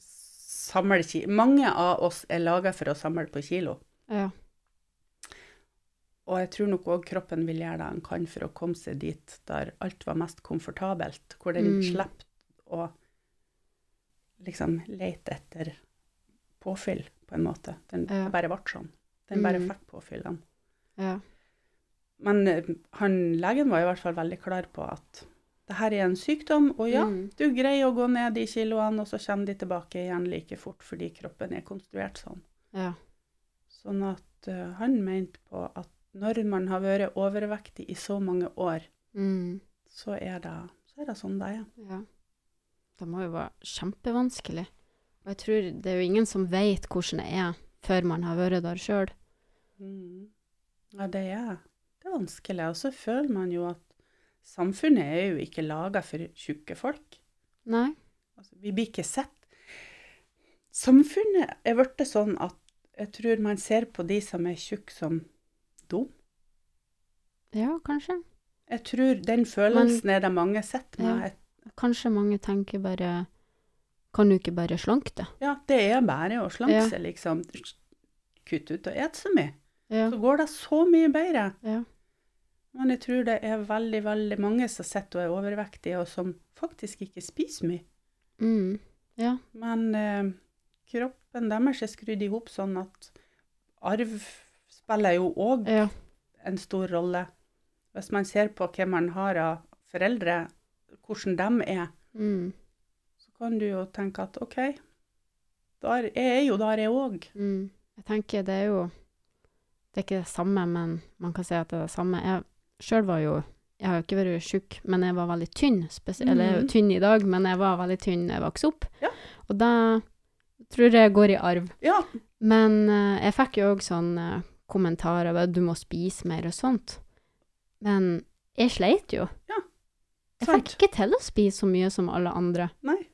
[SPEAKER 2] samle kilo. Mange av oss er laga for å samle på kilo.
[SPEAKER 1] Ja.
[SPEAKER 2] Og jeg tror nok òg kroppen vil gjøre det den kan for å komme seg dit der alt var mest komfortabelt, hvor den
[SPEAKER 1] Mm.
[SPEAKER 2] slipper å liksom lete etter påfyll, på en måte. Den
[SPEAKER 1] Ja.
[SPEAKER 2] bare ble sånn. Den bare
[SPEAKER 1] Mm.
[SPEAKER 2] fikk påfyllene.
[SPEAKER 1] Ja.
[SPEAKER 2] Men eh, han, legen var i hvert fall veldig klar på at det her er en sykdom, og ja,
[SPEAKER 1] Mm.
[SPEAKER 2] du greier å gå ned de kiloene, og så kommer de tilbake igjen like fort fordi kroppen er konstruert sånn.
[SPEAKER 1] Ja.
[SPEAKER 2] Sånn at eh, han mente på at når man har vært overvektig i så mange år,
[SPEAKER 1] Mm.
[SPEAKER 2] så er det, så er det sånn det er.
[SPEAKER 1] ja. Det må jo være kjempevanskelig. Og jeg tror det er jo ingen som vet hvordan det er før man har vært der sjøl.
[SPEAKER 2] Mm. Ja, det er, det er vanskelig. Og så føler man jo at samfunnet er jo ikke laga for tjukke folk.
[SPEAKER 1] Nei.
[SPEAKER 2] Altså, vi blir ikke sett. Samfunnet er blitt sånn at jeg tror man ser på de som er tjukke som
[SPEAKER 1] Ja, kanskje.
[SPEAKER 2] Jeg tror den følelsen er det mange sitter med.
[SPEAKER 1] Ja. Kanskje mange tenker bare Kan du ikke bare slanke deg?
[SPEAKER 2] Ja, det er bare å slanke seg, liksom. Kutt ut og et så mye.
[SPEAKER 1] Ja.
[SPEAKER 2] Så går det så mye bedre.
[SPEAKER 1] Ja.
[SPEAKER 2] Men jeg tror det er veldig, veldig mange som sitter og er overvektige, og som faktisk ikke spiser mye.
[SPEAKER 1] Mm. Ja.
[SPEAKER 2] Men eh, kroppen deres er skrudd i hop sånn at arv spiller jo òg
[SPEAKER 1] Ja.
[SPEAKER 2] en stor rolle. Hvis man ser på hvem man har av foreldre, hvordan de er,
[SPEAKER 1] Mm.
[SPEAKER 2] så kan du jo tenke at OK, der jeg er jo der jeg òg.
[SPEAKER 1] Mm. Jeg tenker det er jo Det er ikke det samme, men man kan si at det er det samme. Jeg sjøl var jo Jeg har jo ikke vært tjukk, men jeg var veldig tynn. Spes Eller jeg er jo
[SPEAKER 2] Mhm.
[SPEAKER 1] tynn i dag, men jeg var veldig tynn da jeg vokste opp.
[SPEAKER 2] Ja.
[SPEAKER 1] Og da tror jeg jeg går i arv.
[SPEAKER 2] Ja.
[SPEAKER 1] Men eh, jeg fikk jo eh, òg sånne kommentarer bare 'du må spise mer' og sånt. Men jeg sleit jo. Jeg fikk
[SPEAKER 2] Sant.
[SPEAKER 1] ikke til å spise så mye som alle andre.
[SPEAKER 2] Nei.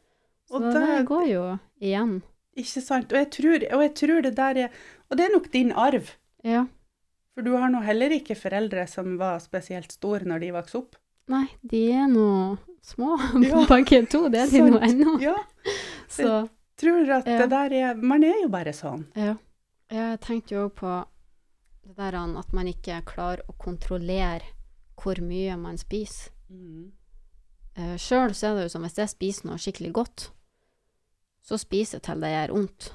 [SPEAKER 1] Så
[SPEAKER 2] Og
[SPEAKER 1] det,
[SPEAKER 2] det-
[SPEAKER 1] går jo igjen.
[SPEAKER 2] Ikke sant. Og jeg tror, og jeg tror det der er Og det er nok din arv.
[SPEAKER 1] Ja.
[SPEAKER 2] For du har nå heller ikke foreldre som var spesielt store når de vokste opp.
[SPEAKER 1] Nei, de er nå små,
[SPEAKER 2] Ja.
[SPEAKER 1] begge to. Det er de nå
[SPEAKER 2] Sant.
[SPEAKER 1] ennå.
[SPEAKER 2] Ja,
[SPEAKER 1] Så
[SPEAKER 2] tror at
[SPEAKER 1] Ja.
[SPEAKER 2] det der er Man er jo bare sånn.
[SPEAKER 1] ja. Jeg tenkte jo òg på det der an at man ikke klarer å kontrollere hvor mye man spiser.
[SPEAKER 2] Mm.
[SPEAKER 1] Uh, Sjøl så er det jo som hvis jeg spiser noe skikkelig godt, så spiser jeg til det gjør vondt.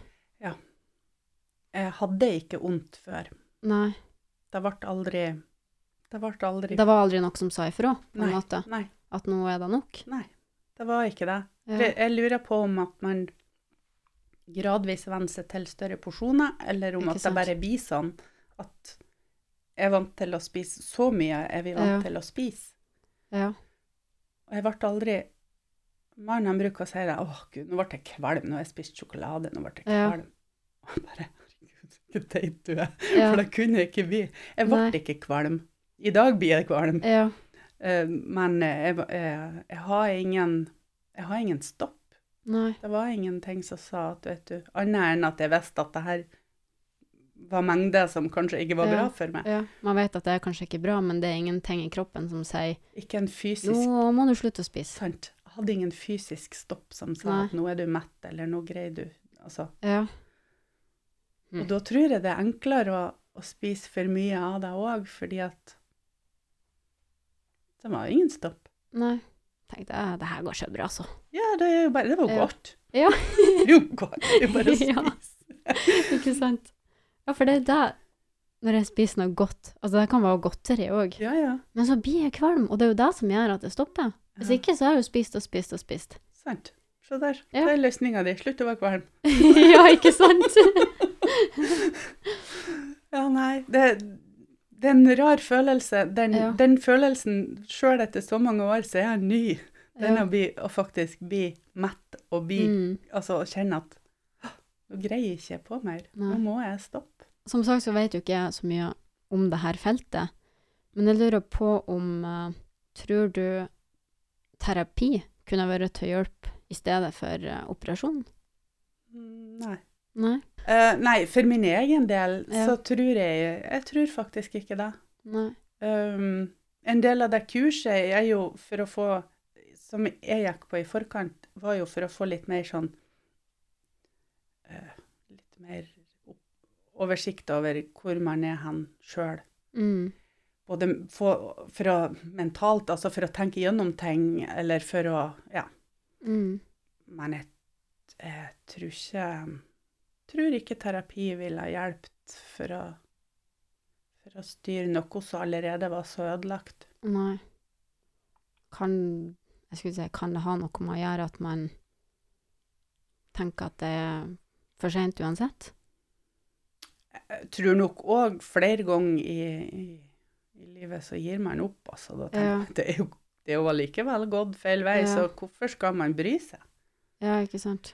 [SPEAKER 2] Jeg hadde ikke vondt før.
[SPEAKER 1] Nei.
[SPEAKER 2] Det ble aldri Det ble aldri
[SPEAKER 1] Det var aldri noe som sa ifra, på en måte.
[SPEAKER 2] Nei,
[SPEAKER 1] At nå er det nok.
[SPEAKER 2] det var ikke det. For
[SPEAKER 1] Ja.
[SPEAKER 2] Jeg jeg lurer på om at man gradvis venner seg til større porsjoner, eller om
[SPEAKER 1] Ikke
[SPEAKER 2] at det
[SPEAKER 1] sant.
[SPEAKER 2] bare blir sånn at jeg er vant til å spise så mye er vi vant
[SPEAKER 1] Ja.
[SPEAKER 2] til å spise.
[SPEAKER 1] ja.
[SPEAKER 2] Og jeg ble aldri Mannen han bruker å si det. 'Å, gud, nå ble jeg kvalm. Nå har jeg spist sjokolade. Nå ble jeg
[SPEAKER 1] Ja.
[SPEAKER 2] kvalm.' Og jeg bare 'Herregud, så teit du er.'
[SPEAKER 1] ja.
[SPEAKER 2] For det kunne jeg ikke bli. Jeg ble
[SPEAKER 1] Nei.
[SPEAKER 2] ikke kvalm. I dag blir jeg kvalm.
[SPEAKER 1] ja.
[SPEAKER 2] Eh, Men eh, jeg, var- eh, jeg, har ingen, jeg har ingen stopp.
[SPEAKER 1] Nei.
[SPEAKER 2] Det var ingenting som sa at, vet du, annet enn at jeg visste at det her var mengder som kanskje ikke var
[SPEAKER 1] Ja.
[SPEAKER 2] bra for meg.
[SPEAKER 1] Ja. Man vet at det er kanskje ikke bra, men det er ingenting i kroppen som sier
[SPEAKER 2] Ikke en fysisk
[SPEAKER 1] 'nå må du slutte å spise'.
[SPEAKER 2] sant. Jeg hadde ingen fysisk stopp som sa
[SPEAKER 1] Nei.
[SPEAKER 2] at nå er du mett, eller nå greier du altså.
[SPEAKER 1] Ja. Mm.
[SPEAKER 2] Og da tror jeg det er enklere å, å spise for mye av det òg, fordi at det var ingen stopp.
[SPEAKER 1] Hm. Nei. Tenkte jeg, det her går så bra, så.
[SPEAKER 2] Ja, det, er jo bare, det var jo
[SPEAKER 1] Ja.
[SPEAKER 2] godt.
[SPEAKER 1] Ja.
[SPEAKER 2] det er jo godt. Det er jo bare å
[SPEAKER 1] Ja.
[SPEAKER 2] spise.
[SPEAKER 1] Ikke sant? Ja, for det er det når jeg spiser noe godt. Altså, det kan være godteri òg.
[SPEAKER 2] Ja, ja.
[SPEAKER 1] Men så blir jeg kvalm, og det er jo det som gjør at jeg stopper. Hvis
[SPEAKER 2] ja.
[SPEAKER 1] ikke, så har jeg jo spist og spist og spist.
[SPEAKER 2] Sant. Se der.
[SPEAKER 1] Ja.
[SPEAKER 2] Det er løsninga di. Slutt å være kvalm.
[SPEAKER 1] ja, ikke sant?
[SPEAKER 2] Ja, nei. Det, det er en rar følelse. Den,
[SPEAKER 1] Ja.
[SPEAKER 2] den følelsen, sjøl etter så mange år, så er den ny. Den
[SPEAKER 1] Ja.
[SPEAKER 2] å, bli, å faktisk bli mett og bli
[SPEAKER 1] Mm.
[SPEAKER 2] Altså å kjenne at «Hå, Nå greier jeg ikke på mer.
[SPEAKER 1] Nei.
[SPEAKER 2] Nå må jeg stoppe.
[SPEAKER 1] Som sagt så vet jo ikke jeg så mye om det her feltet, men jeg lurer på om eh, Tror du terapi kunne vært til hjelp i stedet for eh, operasjon?
[SPEAKER 2] Mm, Nei.
[SPEAKER 1] Nei?
[SPEAKER 2] Eh, nei, for min egen del
[SPEAKER 1] Ja.
[SPEAKER 2] så tror jeg Jeg tror faktisk ikke det.
[SPEAKER 1] Nei.
[SPEAKER 2] Um, en del av det kurset er jo for å få Som jeg gikk på i forkant, var jo for å få litt mer sånn eh, Litt mer opp- oversikt over hvor man er hen sjøl.
[SPEAKER 1] Mm.
[SPEAKER 2] Både for, for å mentalt, altså for å tenke gjennom ting, eller for å Ja.
[SPEAKER 1] Mm.
[SPEAKER 2] Men jeg, jeg tror ikke Tror ikke terapi ville ha hjulpet for å, for å styre noe som allerede var så ødelagt.
[SPEAKER 1] Nei. Kan Jeg skulle si, kan det ha noe med å gjøre at man tenker at det er for seint uansett?
[SPEAKER 2] Jeg tror nok òg flere ganger i, i, i livet så gir man opp, altså. Da tenker
[SPEAKER 1] Ja.
[SPEAKER 2] jeg, det er jo det er jo allikevel gått feil vei,
[SPEAKER 1] Ja.
[SPEAKER 2] så hvorfor skal man bry seg?
[SPEAKER 1] Ja, ikke sant.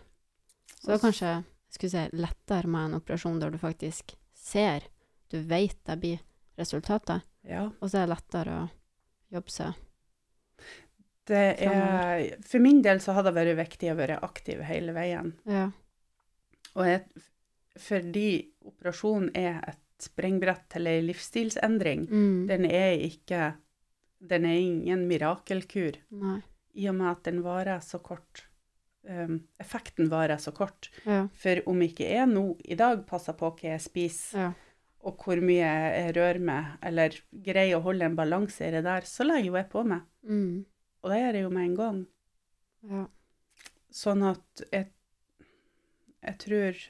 [SPEAKER 1] Så det er kanskje jeg skulle si, lettere med en operasjon der du faktisk ser, du vet det blir resultatet,
[SPEAKER 2] Ja,
[SPEAKER 1] og så er det lettere å jobbe seg.
[SPEAKER 2] det er,
[SPEAKER 1] Framover.
[SPEAKER 2] for min del så har det vært viktig å være aktiv hele veien.
[SPEAKER 1] Ja.
[SPEAKER 2] Og jeg, fordi operasjonen er et springbrett til ei livsstilsendring,
[SPEAKER 1] Mm.
[SPEAKER 2] den er ikke Den er ingen mirakelkur,
[SPEAKER 1] Nei.
[SPEAKER 2] i og med at den varer så kort. Um, effekten varer så kort.
[SPEAKER 1] Ja.
[SPEAKER 2] For om ikke jeg nå i dag passer på hva jeg spiser,
[SPEAKER 1] Ja.
[SPEAKER 2] og hvor mye jeg rører meg, eller greier å holde en balanse i det der, så legger jo jeg på meg.
[SPEAKER 1] Mm.
[SPEAKER 2] Og det gjør jeg jo med en gang.
[SPEAKER 1] Ja.
[SPEAKER 2] Sånn at jeg, jeg tror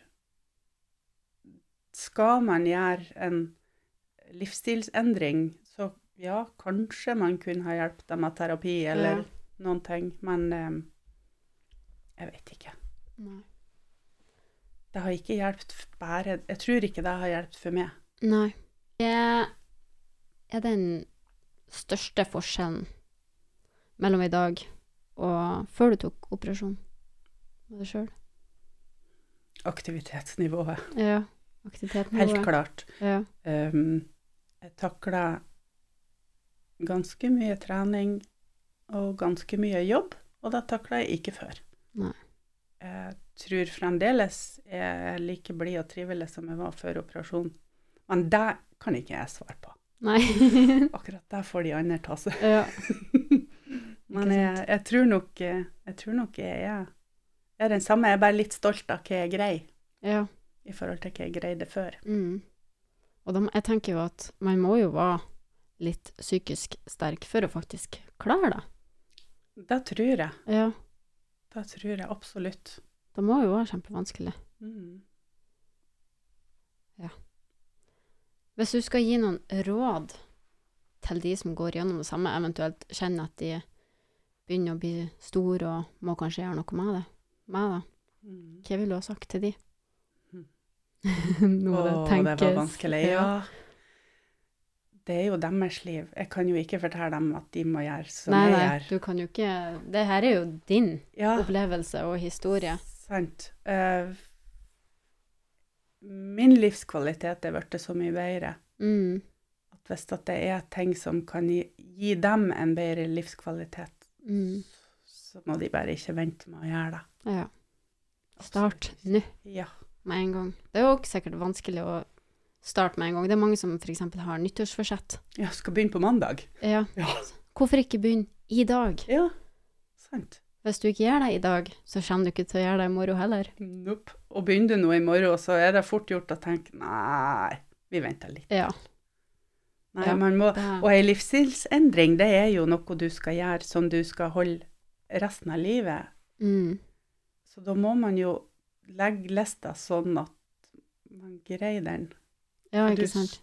[SPEAKER 2] Skal man gjøre en livsstilsendring, så ja, kanskje man kunne ha hjulpet dem med terapi eller
[SPEAKER 1] Ja.
[SPEAKER 2] noen ting, men eh, jeg vet ikke.
[SPEAKER 1] Nei.
[SPEAKER 2] Det har ikke hjulpet f- bare Jeg tror ikke det har hjulpet for meg.
[SPEAKER 1] Nei. Det er den største forskjellen mellom i dag og før du tok operasjon med deg sjøl.
[SPEAKER 2] Aktivitetsnivået,
[SPEAKER 1] Ja. Aktiviteten
[SPEAKER 2] helt klart.
[SPEAKER 1] Ja.
[SPEAKER 2] Um, jeg takla ganske mye trening og ganske mye jobb, og det takla jeg ikke før.
[SPEAKER 1] Nei.
[SPEAKER 2] Jeg tror fremdeles jeg er like blid og trivelig som jeg var før operasjonen. Men det kan ikke jeg svare på.
[SPEAKER 1] Nei.
[SPEAKER 2] Akkurat det får de andre ta seg.
[SPEAKER 1] ja.
[SPEAKER 2] Men jeg, jeg, tror nok, eh, jeg tror nok jeg er, jeg er den samme. Jeg er bare litt stolt av hva jeg greier,
[SPEAKER 1] ja.
[SPEAKER 2] i forhold til hva jeg greide før.
[SPEAKER 1] Mm. Og da, må- jeg tenker jo at man må jo være litt psykisk sterk for å faktisk klare det.
[SPEAKER 2] Det tror jeg.
[SPEAKER 1] Ja.
[SPEAKER 2] Det tror jeg absolutt.
[SPEAKER 1] Det må jo være kjempevanskelig.
[SPEAKER 2] Mm.
[SPEAKER 1] Hvis du skal gi noen råd til de som går gjennom det samme, eventuelt kjenner at de begynner å bli store og må kanskje gjøre noe med det, med det.
[SPEAKER 2] Mm.
[SPEAKER 1] hva ville du ha sagt til de?
[SPEAKER 2] Mm.
[SPEAKER 1] Nå
[SPEAKER 2] Åh,
[SPEAKER 1] det tenkes.
[SPEAKER 2] det var vanskelig. Ja. Det er jo deres liv. Jeg kan jo ikke fortelle dem at de må gjøre som
[SPEAKER 1] Nei,
[SPEAKER 2] jeg
[SPEAKER 1] nei,
[SPEAKER 2] gjør.
[SPEAKER 1] du kan jo ikke Det her er jo din
[SPEAKER 2] Ja,
[SPEAKER 1] opplevelse og historie.
[SPEAKER 2] sant. Eh, min livskvalitet er blitt så mye bedre.
[SPEAKER 1] Mm.
[SPEAKER 2] At hvis at det er ting som kan gi, gi dem en bedre livskvalitet,
[SPEAKER 1] Mm.
[SPEAKER 2] så må de bare ikke vente med å gjøre det.
[SPEAKER 1] Ja. Start nå.
[SPEAKER 2] Ja.
[SPEAKER 1] med en gang. Det er jo også sikkert vanskelig å starte med en gang. Det er mange som f.eks. har nyttårsforsett.
[SPEAKER 2] ja, skal begynne på mandag.
[SPEAKER 1] Ja.
[SPEAKER 2] Ja.
[SPEAKER 1] Hvorfor ikke begynne i dag?
[SPEAKER 2] Ja, sant.
[SPEAKER 1] Hvis du ikke gjør det i dag, så kommer du ikke til å gjøre det i morgen heller.
[SPEAKER 2] Nope. Og begynner du nå i morgen, så er det fort gjort å tenke nei, vi venter litt.
[SPEAKER 1] Ja.
[SPEAKER 2] Nei,
[SPEAKER 1] Ja.
[SPEAKER 2] man må
[SPEAKER 1] Det,
[SPEAKER 2] Og ei livsstilsendring, det er jo noe du skal gjøre som du skal holde resten av livet.
[SPEAKER 1] mm,
[SPEAKER 2] Så da må man jo legge lista sånn at man greier den.
[SPEAKER 1] ja,
[SPEAKER 2] Du
[SPEAKER 1] ikke
[SPEAKER 2] s-
[SPEAKER 1] sant.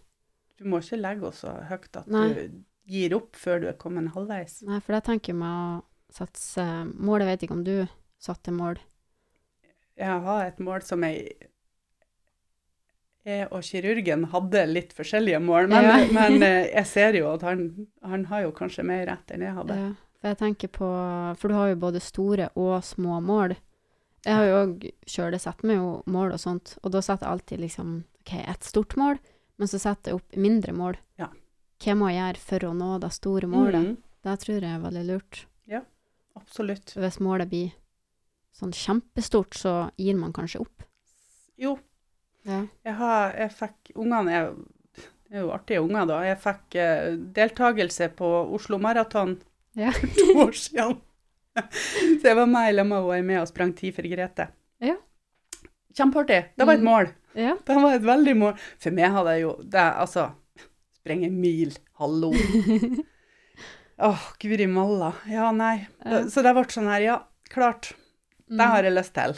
[SPEAKER 2] Du må ikke legge henne så høyt at
[SPEAKER 1] Nei.
[SPEAKER 2] du gir opp før du er kommet halvveis.
[SPEAKER 1] Nei, for jeg tenker meg å satse mål. Jeg vet ikke om du satte mål.
[SPEAKER 2] Jeg har et mål som jeg jeg og kirurgen hadde litt forskjellige mål, men,
[SPEAKER 1] Ja.
[SPEAKER 2] men eh, jeg ser jo at han, han har jo kanskje mer rett enn jeg hadde.
[SPEAKER 1] Ja, for jeg tenker på For du har jo både store og små mål. Jeg har jo òg sjøl satt meg jo mål og sånt, og da setter jeg alltid liksom OK, et stort mål, men så setter jeg opp mindre mål.
[SPEAKER 2] Ja.
[SPEAKER 1] Hva må jeg gjøre for å nå det store målet?
[SPEAKER 2] Mm,
[SPEAKER 1] Det tror jeg er veldig lurt.
[SPEAKER 2] absolutt.
[SPEAKER 1] Hvis målet blir sånn kjempestort, så gir man kanskje opp.
[SPEAKER 2] Jo,
[SPEAKER 1] Ja.
[SPEAKER 2] jeg, har, jeg fikk Ungene er, jo- det er jo artige unger, da. Jeg fikk eh, deltakelse på Oslo Maraton
[SPEAKER 1] Ja.
[SPEAKER 2] for to år siden. Så jeg var med i lag med henne, jeg er med og sprang ti for Grete.
[SPEAKER 1] Ja.
[SPEAKER 2] Kjempeartig. Det var et
[SPEAKER 1] Mm.
[SPEAKER 2] mål.
[SPEAKER 1] ja.
[SPEAKER 2] Det var et veldig mål. For meg hadde jeg jo det, Altså, sprenge en mil, hallo. Åh, guri malla. Ja, nei.
[SPEAKER 1] Ja. Mm.
[SPEAKER 2] Så det ble sånn her, ja, klart. Det har jeg lyst til.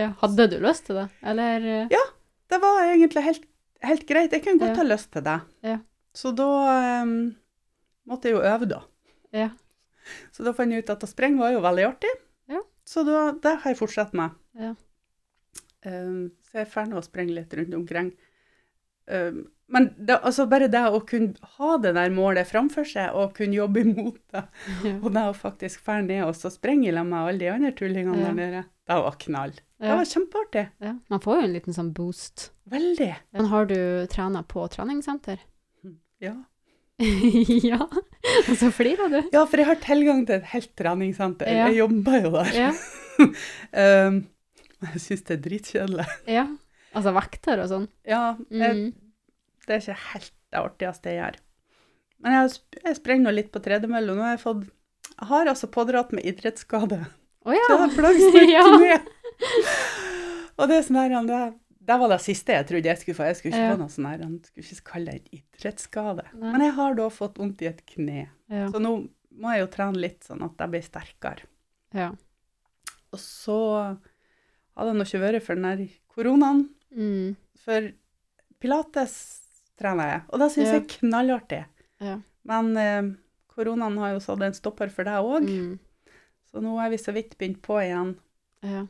[SPEAKER 1] ja. Hadde du lyst til det, eller eh,
[SPEAKER 2] Det var egentlig helt, helt greit. Jeg kunne godt
[SPEAKER 1] Ja.
[SPEAKER 2] ha lyst til det.
[SPEAKER 1] Ja.
[SPEAKER 2] Så da em, måtte jeg jo øve, da.
[SPEAKER 1] Ja.
[SPEAKER 2] Så da fant jeg ut at å sprenge var jo veldig artig.
[SPEAKER 1] Ja.
[SPEAKER 2] Så da, det har jeg fortsatt med.
[SPEAKER 1] Ja.
[SPEAKER 2] Em, så jeg får nå sprenge litt rundt omkring. Em, men det, altså bare det å kunne ha det der målet framfor seg og kunne jobbe imot det,
[SPEAKER 1] ja.
[SPEAKER 2] og det å faktisk fære ned og så sprenge i lag med alle de andre tullingene
[SPEAKER 1] Ja.
[SPEAKER 2] der nede, det var knall. Det
[SPEAKER 1] Ja.
[SPEAKER 2] var kjempeartig.
[SPEAKER 1] ja. Man får jo en liten sånn boost.
[SPEAKER 2] Veldig. Hm.
[SPEAKER 1] Men har du trena på treningssenter?
[SPEAKER 2] Ja.
[SPEAKER 1] ja. Og så flirer du.
[SPEAKER 2] Ja, for jeg har tilgang til et helt treningssenter.
[SPEAKER 1] Ja.
[SPEAKER 2] Jeg jobber jo der.
[SPEAKER 1] Ja.
[SPEAKER 2] Um, jeg syns det er dritkjedelig.
[SPEAKER 1] ja. Altså vekter og sånn.
[SPEAKER 2] Ja, jeg,
[SPEAKER 1] Mm.
[SPEAKER 2] det er ikke helt det artigste jeg gjør. Men jeg, sp- jeg sprenger nå litt på tredemølle, og nå har jeg fått jeg har altså pådratt meg idrettsskade.
[SPEAKER 1] Å
[SPEAKER 2] Så
[SPEAKER 1] ja.
[SPEAKER 2] det er plagsmerter
[SPEAKER 1] Ja.
[SPEAKER 2] med. Og det er sånn her, han, det, det var det siste jeg trodde jeg skulle få. Jeg skulle ikke
[SPEAKER 1] Ja.
[SPEAKER 2] få noe sånn her, han skulle ikke kalle det en idrettsskade.
[SPEAKER 1] Nei.
[SPEAKER 2] Men jeg har da fått vondt i et kne.
[SPEAKER 1] Ja.
[SPEAKER 2] Så nå må jeg jo trene litt sånn at jeg blir sterkere.
[SPEAKER 1] ja.
[SPEAKER 2] Og så hadde jeg nå ikke vært for den her koronaen,
[SPEAKER 1] Mm.
[SPEAKER 2] for pilates trener jeg, og det syns
[SPEAKER 1] Ja.
[SPEAKER 2] jeg er knallartig.
[SPEAKER 1] Ja.
[SPEAKER 2] Men eh, koronaen har jo satt en stopper for deg òg,
[SPEAKER 1] Mm.
[SPEAKER 2] så nå er vi så vidt begynt på igjen.
[SPEAKER 1] ja.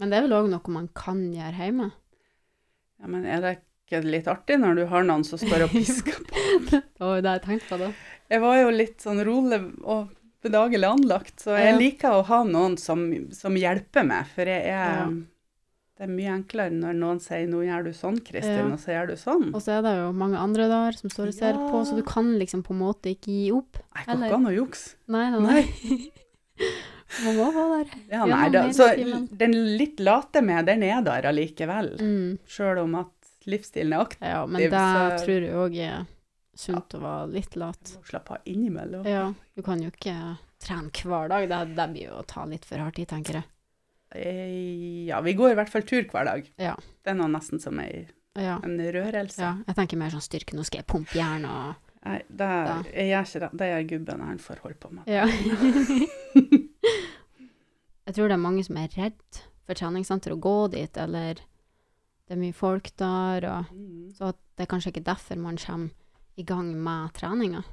[SPEAKER 1] Men det er vel òg noe man kan gjøre hjemme?
[SPEAKER 2] Ja, men er det ikke litt artig når du har noen som står og pisker på?
[SPEAKER 1] Det var jo det jeg tenkte på da.
[SPEAKER 2] Jeg var jo litt sånn rolig og bedagelig anlagt, så jeg
[SPEAKER 1] Ja.
[SPEAKER 2] liker å ha noen som, som hjelper meg, for jeg
[SPEAKER 1] Ja.
[SPEAKER 2] er Det er mye enklere når noen sier 'nå gjør du sånn,
[SPEAKER 1] Ja.
[SPEAKER 2] Kristin', og så gjør du sånn.
[SPEAKER 1] Og så er det jo mange andre der som står og ser
[SPEAKER 2] Ja.
[SPEAKER 1] på, så du kan liksom på en måte ikke gi opp.
[SPEAKER 2] Nei, går
[SPEAKER 1] Eller-
[SPEAKER 2] ikke an å jukse.
[SPEAKER 1] Nei, nei, nei.
[SPEAKER 2] Nei.
[SPEAKER 1] Man må være der.
[SPEAKER 2] Ja,
[SPEAKER 1] Ja,
[SPEAKER 2] nei,
[SPEAKER 1] man
[SPEAKER 2] da,
[SPEAKER 1] er
[SPEAKER 2] så
[SPEAKER 1] litt i men-
[SPEAKER 2] den litt late med, den er der allikevel.
[SPEAKER 1] Mm.
[SPEAKER 2] Sjøl om at livsstilen er aktiv.
[SPEAKER 1] Ja, men
[SPEAKER 2] Det-
[SPEAKER 1] det
[SPEAKER 2] så-
[SPEAKER 1] tror jeg òg er sunt å være litt lat.
[SPEAKER 2] må Slapp av innimellom.
[SPEAKER 1] Ja, du kan jo ikke trene hver dag. Det, det blir jo å ta litt for hardt i, tenker jeg.
[SPEAKER 2] Eh, Ja, vi går i hvert fall tur hver dag.
[SPEAKER 1] Ja.
[SPEAKER 2] Det er nå nesten som ei,
[SPEAKER 1] Ja.
[SPEAKER 2] en rørelse.
[SPEAKER 1] ja. Jeg tenker mer sånn styrke, nå skal jeg pumpe jern og
[SPEAKER 2] Nei, det,
[SPEAKER 1] Da.
[SPEAKER 2] jeg gjør ikke det. Det gjør gubben han får holde på med.
[SPEAKER 1] Ja. jeg tror det er mange som er redd for treningssenter å gå dit, eller det er mye folk der, og
[SPEAKER 2] Mm.
[SPEAKER 1] så at det er kanskje ikke derfor man kommer i gang med treninga.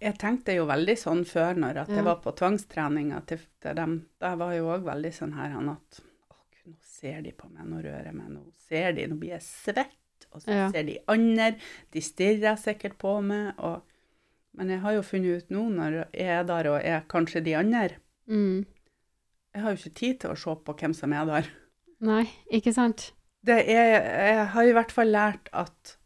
[SPEAKER 2] Jeg tenkte jo veldig sånn før, når at
[SPEAKER 1] Ja.
[SPEAKER 2] jeg var på tvangstreninga til, til dem. Da var jeg jo òg veldig sånn her han at Å, gud, nå ser de på meg, nå rører jeg meg, nå ser de, nå blir jeg svett. Og så
[SPEAKER 1] Ja.
[SPEAKER 2] ser de andre, de stirrer sikkert på meg. Og, men jeg har jo funnet ut nå, når jeg er der og er kanskje de andre
[SPEAKER 1] Mm.
[SPEAKER 2] Jeg har jo ikke tid til å se på hvem som er der.
[SPEAKER 1] Nei, ikke sant?
[SPEAKER 2] Det er, jeg har i hvert fall lært at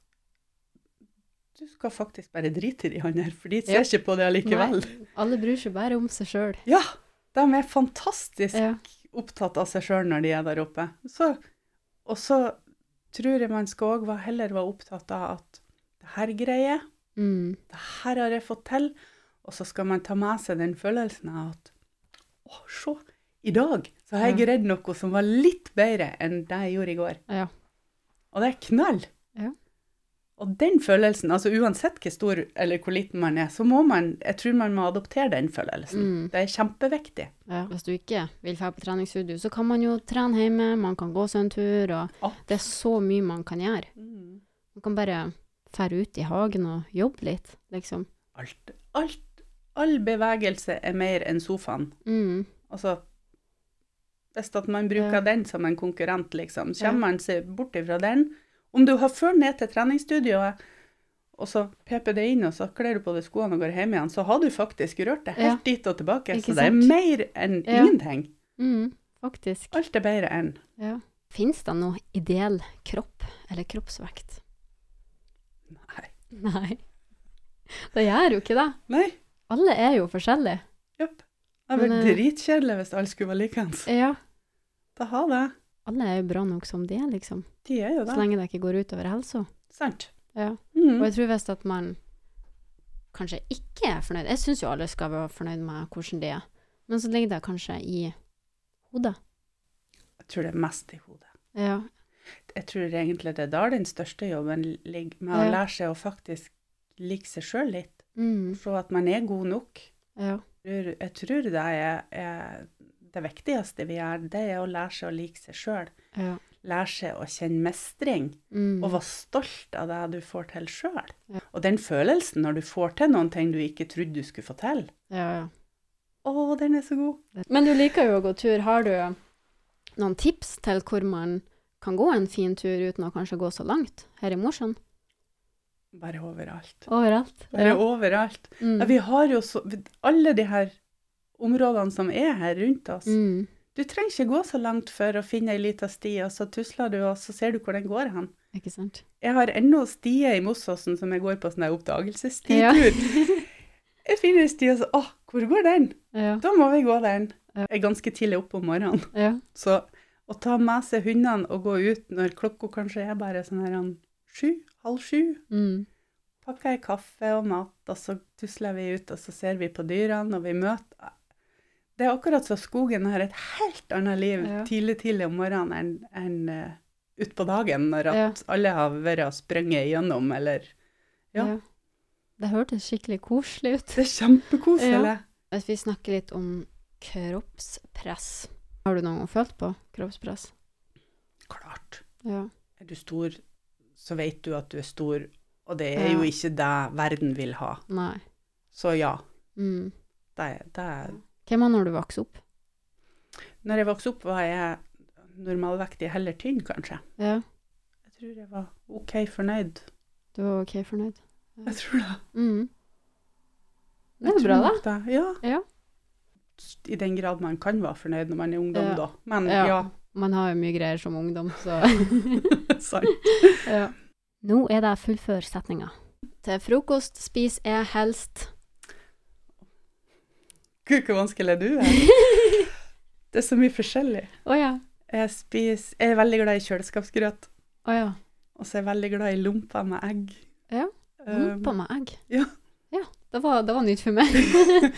[SPEAKER 2] du skal faktisk bare drite i de andre, for de ser
[SPEAKER 1] Ja.
[SPEAKER 2] ikke på det allikevel.
[SPEAKER 1] Alle bryr seg bare om seg sjøl.
[SPEAKER 2] Ja, de er fantastisk
[SPEAKER 1] Ja.
[SPEAKER 2] opptatt av seg sjøl når de er der oppe. Så, og så tror jeg man skal òg heller være opptatt av at det her greier jeg,
[SPEAKER 1] Mm.
[SPEAKER 2] det her har jeg fått til. Og så skal man ta med seg den følelsen av at å, se, i dag så har jeg
[SPEAKER 1] Ja.
[SPEAKER 2] greid noe som var litt bedre enn det jeg gjorde i går.
[SPEAKER 1] Ja.
[SPEAKER 2] Og det er knall.
[SPEAKER 1] Ja.
[SPEAKER 2] Og den følelsen, altså uansett hvor stor eller hvor liten man er, så må man, jeg tror man må adoptere den følelsen.
[SPEAKER 1] Mm.
[SPEAKER 2] Det er kjempeviktig.
[SPEAKER 1] Ja. Hvis du ikke vil dra på treningsstudio, så kan man jo trene hjemme, man kan gå seg en tur, og
[SPEAKER 2] Ja.
[SPEAKER 1] det er så mye man kan gjøre. Man kan bare fære ut i hagen og jobbe litt, liksom.
[SPEAKER 2] Alt, alt, all bevegelse er mer enn sofaen.
[SPEAKER 1] Mm.
[SPEAKER 2] Altså, hvis at man bruker
[SPEAKER 1] Ja.
[SPEAKER 2] den som en konkurrent, liksom,
[SPEAKER 1] Ja.
[SPEAKER 2] kommer man seg bort ifra den. Om du har ført ned til treningsstudioet, og så peper det inn, og så kler du på deg skoene og går hjem igjen, så har du faktisk rørt deg helt dit og tilbake.
[SPEAKER 1] Ikke
[SPEAKER 2] så det er
[SPEAKER 1] sant?
[SPEAKER 2] mer enn
[SPEAKER 1] Ja.
[SPEAKER 2] ingenting.
[SPEAKER 1] Mm. faktisk.
[SPEAKER 2] Alt er bedre enn.
[SPEAKER 1] Ja. Fins det noe ideell kropp eller kroppsvekt?
[SPEAKER 2] Nei.
[SPEAKER 1] Nei. Det gjør jo ikke det.
[SPEAKER 2] Nei.
[SPEAKER 1] Alle er jo forskjellige.
[SPEAKER 2] Jopp. Det hadde
[SPEAKER 1] Men,
[SPEAKER 2] vært
[SPEAKER 1] eh,
[SPEAKER 2] dritkjedelig hvis alle skulle være likeens.
[SPEAKER 1] Ja.
[SPEAKER 2] Da ha det.
[SPEAKER 1] Alle er jo bra nok som de er, liksom.
[SPEAKER 2] De er jo
[SPEAKER 1] Så
[SPEAKER 2] det.
[SPEAKER 1] lenge det ikke går utover helsa.
[SPEAKER 2] Sant.
[SPEAKER 1] Ja. Og
[SPEAKER 2] Mm.
[SPEAKER 1] jeg tror hvis at man kanskje ikke er fornøyd Jeg syns jo alle skal være fornøyd med hvordan de er, men så ligger det kanskje i hodet.
[SPEAKER 2] Jeg tror det er mest i hodet.
[SPEAKER 1] Ja.
[SPEAKER 2] Jeg tror egentlig det er der den største jobben ligger, med å
[SPEAKER 1] Ja.
[SPEAKER 2] lære seg å faktisk like seg sjøl litt.
[SPEAKER 1] Mm.
[SPEAKER 2] Se at man er god nok.
[SPEAKER 1] ja.
[SPEAKER 2] tror- Jeg tror det er, er det viktigste vi gjør, det er å lære seg å like seg sjøl.
[SPEAKER 1] Ja.
[SPEAKER 2] Lære seg å kjenne mestring,
[SPEAKER 1] Mm.
[SPEAKER 2] og være stolt av det du får til sjøl.
[SPEAKER 1] Ja.
[SPEAKER 2] Og den følelsen når du får til noen ting du ikke trodde du skulle få til.
[SPEAKER 1] ja, ja.
[SPEAKER 2] Å, den er så god!
[SPEAKER 1] Men du liker jo å gå tur. Har du noen tips til hvor man kan gå en fin tur uten å kanskje gå så langt her i Mosjøen?
[SPEAKER 2] Bare overalt.
[SPEAKER 1] Overalt.
[SPEAKER 2] Bare
[SPEAKER 1] Ja.
[SPEAKER 2] overalt. Ja,
[SPEAKER 1] Mm.
[SPEAKER 2] vi har jo så Alle de her områdene som er her rundt oss.
[SPEAKER 1] Mm.
[SPEAKER 2] Du trenger ikke gå så langt for å finne ei lita sti, og så tusler du, og så ser du hvor den går hen.
[SPEAKER 1] Ikke sant?
[SPEAKER 2] Jeg har ennå stier i Mossåsen som jeg går på sånn der
[SPEAKER 1] Ja.
[SPEAKER 2] oppdagelsestitur. Jeg finner en sti og så Å, hvor går den?
[SPEAKER 1] Ja.
[SPEAKER 2] Da må vi gå den.
[SPEAKER 1] Ja.
[SPEAKER 2] Jeg er ganske tidlig oppe om morgenen.
[SPEAKER 1] ja.
[SPEAKER 2] Så å ta med seg hundene og gå ut når klokka kanskje er bare sånn her han, sju, halv sju,
[SPEAKER 1] Mm.
[SPEAKER 2] pakker jeg kaffe og mat, og så tusler vi ut, og så ser vi på dyrene, og vi møter ah, Det er akkurat som skogen har et helt annet liv
[SPEAKER 1] Ja.
[SPEAKER 2] tidlig, tidlig om morgenen enn enn, eh, ut utpå dagen, når at
[SPEAKER 1] Ja.
[SPEAKER 2] alle har vært og sprunget igjennom, eller Ja.
[SPEAKER 1] ja. Det hørtes skikkelig koselig ut.
[SPEAKER 2] Det er kjempekoselig.
[SPEAKER 1] Hvis vi snakker litt om kroppspress, har du noen gang følt på kroppspress?
[SPEAKER 2] Klart.
[SPEAKER 1] Ja.
[SPEAKER 2] Er du stor, så vet du at du er stor, og det er jo
[SPEAKER 1] Ja.
[SPEAKER 2] ikke det verden vil ha.
[SPEAKER 1] Nei.
[SPEAKER 2] Så ja,
[SPEAKER 1] Mm.
[SPEAKER 2] det, det er
[SPEAKER 1] Hvem var når du vokste opp?
[SPEAKER 2] Når jeg vokste opp, var jeg normalvektig, heller tynn, kanskje.
[SPEAKER 1] Ja.
[SPEAKER 2] Jeg tror jeg var OK fornøyd.
[SPEAKER 1] Du var OK fornøyd?
[SPEAKER 2] Jeg tror det.
[SPEAKER 1] Mm. Det
[SPEAKER 2] Jeg
[SPEAKER 1] er jo bra,
[SPEAKER 2] tror
[SPEAKER 1] da.
[SPEAKER 2] nok det. Ja.
[SPEAKER 1] Ja.
[SPEAKER 2] I den grad man kan være fornøyd når man er ungdom,
[SPEAKER 1] Ja.
[SPEAKER 2] da. Men
[SPEAKER 1] Ja.
[SPEAKER 2] ja,
[SPEAKER 1] Man har jo mye greier som ungdom, så
[SPEAKER 2] sant.
[SPEAKER 1] Ja. Nå er det fullfør setninga. Til frokost spiser jeg helst
[SPEAKER 2] Gud, hvor vanskelig du er. Det er så mye forskjellig.
[SPEAKER 1] Å ja.
[SPEAKER 2] Jeg, spiser, jeg er veldig glad i kjøleskapsgrøt,
[SPEAKER 1] Å ja.
[SPEAKER 2] og så er jeg veldig glad i lomper med egg.
[SPEAKER 1] Ja,
[SPEAKER 2] Um,
[SPEAKER 1] Humpa med egg.
[SPEAKER 2] ja.
[SPEAKER 1] Ja, Det var, det var nytt for meg.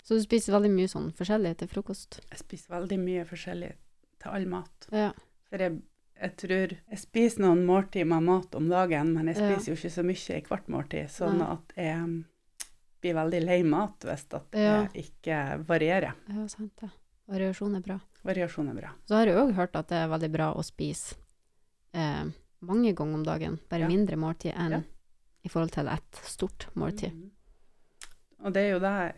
[SPEAKER 1] så du spiser veldig mye sånn forskjellig til frokost?
[SPEAKER 2] jeg spiser veldig mye forskjellig til all mat.
[SPEAKER 1] Ja.
[SPEAKER 2] For jeg, jeg tror Jeg spiser noen måltid med mat om dagen, men jeg
[SPEAKER 1] Ja.
[SPEAKER 2] spiser jo ikke så mye i hvert måltid, sånn
[SPEAKER 1] Nei.
[SPEAKER 2] at jeg mm, blir veldig lei mat hvis at
[SPEAKER 1] Ja.
[SPEAKER 2] jeg ikke varierer.
[SPEAKER 1] ja, sant det. Variasjon er bra.
[SPEAKER 2] Variasjon er bra.
[SPEAKER 1] Så har jeg òg hørt at det er veldig bra å spise eh, mange ganger om dagen, bare
[SPEAKER 2] Ja.
[SPEAKER 1] mindre måltid enn
[SPEAKER 2] Ja.
[SPEAKER 1] i forhold til et stort måltid.
[SPEAKER 2] Mhm. Og det er jo det jeg,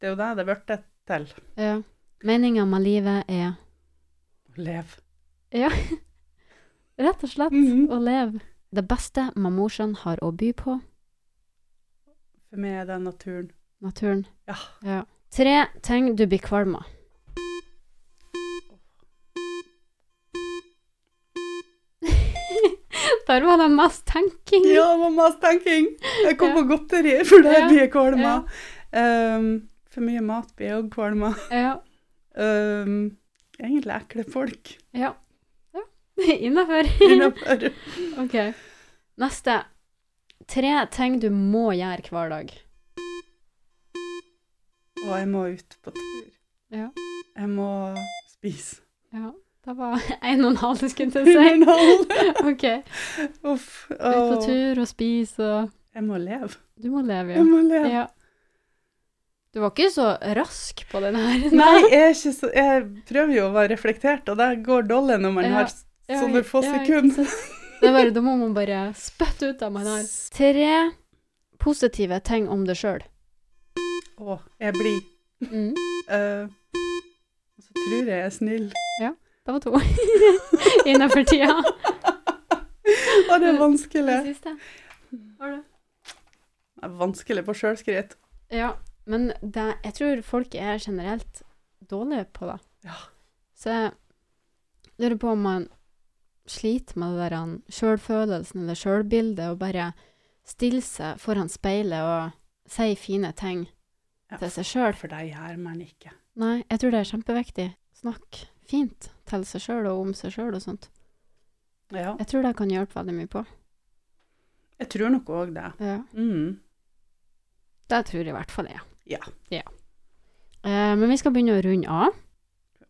[SPEAKER 2] det er jo det det er blitt til.
[SPEAKER 1] Ja. Meninga med livet er
[SPEAKER 2] Å leve.
[SPEAKER 1] rett og slett
[SPEAKER 2] Mhm.
[SPEAKER 1] å leve. Det beste Mamosjan har å by på,
[SPEAKER 2] For meg er det naturen.
[SPEAKER 1] naturen.
[SPEAKER 2] Ja.
[SPEAKER 1] Tre ting du blir kvalm av. Der var det mest tenking.
[SPEAKER 2] Ja, mammas tenking! Jeg kom
[SPEAKER 1] Mm. Ja.
[SPEAKER 2] på godteri, for det
[SPEAKER 1] Ja,
[SPEAKER 2] blir jeg kvalm av. Um, for mye mat blir jeg òg kvalm av.
[SPEAKER 1] Ja.
[SPEAKER 2] Um, egentlig ekle folk
[SPEAKER 1] ja. ja. Innafor.
[SPEAKER 2] innafor.
[SPEAKER 1] OK. Neste. Tre ting du må gjøre hver dag.
[SPEAKER 2] Og jeg må ut på tur.
[SPEAKER 1] Ja.
[SPEAKER 2] Jeg må spise.
[SPEAKER 1] Ja. Det var en og en halv sekund til å si.
[SPEAKER 2] Underhold!
[SPEAKER 1] OK.
[SPEAKER 2] Uff.
[SPEAKER 1] Ut på
[SPEAKER 2] åh.
[SPEAKER 1] tur og spise og
[SPEAKER 2] Jeg må leve.
[SPEAKER 1] Du må leve,
[SPEAKER 2] Jeg
[SPEAKER 1] ja.
[SPEAKER 2] må leve.
[SPEAKER 1] ja. Du var ikke så rask på den her.
[SPEAKER 2] Nei, jeg, er ikke så, jeg prøver jo å være reflektert, og det går dårlig når man
[SPEAKER 1] Ja.
[SPEAKER 2] har s-
[SPEAKER 1] Ja,
[SPEAKER 2] sånne få
[SPEAKER 1] ja, ikke
[SPEAKER 2] sekunder.
[SPEAKER 1] sant. Det er bare, da må man bare spytte ut det man har. Tre positive ting om deg sjøl.
[SPEAKER 2] Å, jeg blir
[SPEAKER 1] Mm,
[SPEAKER 2] eh, Og så tror jeg jeg er snill.
[SPEAKER 1] det var to. Innenfor tida.
[SPEAKER 2] Å, det er vanskelig.
[SPEAKER 1] Den siste. Har du?
[SPEAKER 2] Det er vanskelig på sjølskritt.
[SPEAKER 1] Ja, men det, jeg tror folk er generelt dårlige på det.
[SPEAKER 2] Ja.
[SPEAKER 1] Så Lurer på om man sliter med det der han, sjølfølelsen eller sjølbildet, og bare stiller seg foran speilet og sier fine ting
[SPEAKER 2] Ja.
[SPEAKER 1] til seg sjøl.
[SPEAKER 2] For deg gjør man ikke.
[SPEAKER 1] Nei, jeg tror det er kjempeviktig. Snakk fint til seg sjøl og om seg sjøl og sånt.
[SPEAKER 2] Ja,
[SPEAKER 1] Jeg tror det kan hjelpe veldig mye på.
[SPEAKER 2] jeg tror nok òg det.
[SPEAKER 1] Ja.
[SPEAKER 2] Mm.
[SPEAKER 1] Det tror jeg i hvert fall jeg.
[SPEAKER 2] Ja.
[SPEAKER 1] Eh, men vi skal begynne å runde av.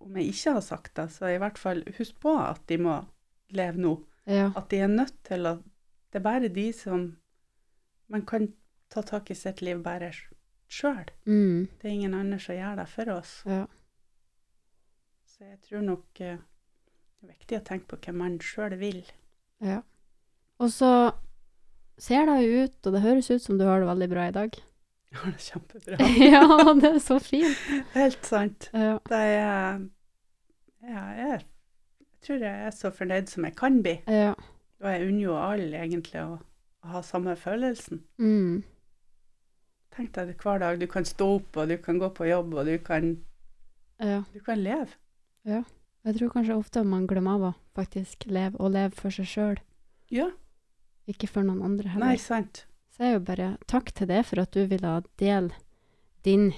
[SPEAKER 2] Om jeg ikke har sagt det, så i hvert fall husk på at de må leve nå.
[SPEAKER 1] Ja.
[SPEAKER 2] At de er nødt til å Det er bare de som Man kan ta tak i sitt liv bare sjøl.
[SPEAKER 1] Mm,
[SPEAKER 2] Det er ingen andre som gjør det for oss.
[SPEAKER 1] ja.
[SPEAKER 2] Så jeg tror nok eh, det er viktig å tenke på hva man sjøl vil.
[SPEAKER 1] ja. Og så ser det jo ut, og det høres ut som du har det veldig bra i dag.
[SPEAKER 2] Jeg har det kjempebra.
[SPEAKER 1] ja, det er så fint.
[SPEAKER 2] Helt sant.
[SPEAKER 1] Ja.
[SPEAKER 2] Det er ja, jeg, jeg tror jeg er så fornøyd som jeg kan bli.
[SPEAKER 1] ja.
[SPEAKER 2] Og jeg unner jo alle egentlig å, å ha samme følelsen.
[SPEAKER 1] Mm,
[SPEAKER 2] Tenk deg det hver dag. Du kan stå opp, og du kan gå på jobb, og du kan,
[SPEAKER 1] ja.
[SPEAKER 2] du kan leve.
[SPEAKER 1] Jeg tror kanskje ofte man glemmer av å faktisk leve, og leve for seg sjøl,
[SPEAKER 2] Ja,
[SPEAKER 1] ikke for noen andre
[SPEAKER 2] nei,
[SPEAKER 1] heller.
[SPEAKER 2] sant.
[SPEAKER 1] Så jeg er jo bare takk til deg for at du ville dele din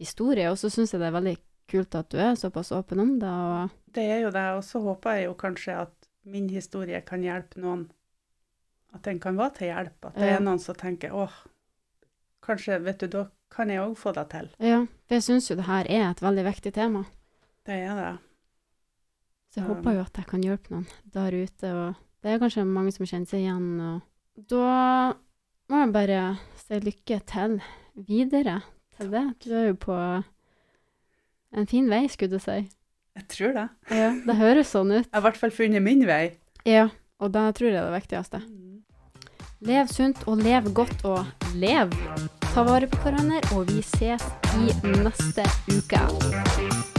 [SPEAKER 1] historie, og så syns jeg det er veldig kult at du er såpass åpen om det, og
[SPEAKER 2] Det er jo det. Og så håper jeg jo kanskje at min historie kan hjelpe noen. At den kan være til hjelp. At det
[SPEAKER 1] Ja.
[SPEAKER 2] er noen som tenker åh, kanskje, vet du, da kan jeg òg få det til.
[SPEAKER 1] ja, for jeg syns jo det her er et veldig viktig tema.
[SPEAKER 2] Det er det.
[SPEAKER 1] Så jeg
[SPEAKER 2] Ja.
[SPEAKER 1] håper jo at jeg kan hjelpe noen der ute, og det er kanskje mange som kjenner seg igjen. Og da må jeg bare si lykke til videre til det. Du er jo på en fin vei, skulle du si.
[SPEAKER 2] Jeg tror det.
[SPEAKER 1] Ja, det høres sånn ut.
[SPEAKER 2] Jeg har i hvert fall funnet min vei.
[SPEAKER 1] Ja, og det tror jeg er det viktigste. Lev sunt og lev godt og lev! Ta vare på hverandre, og vi ses i neste uke.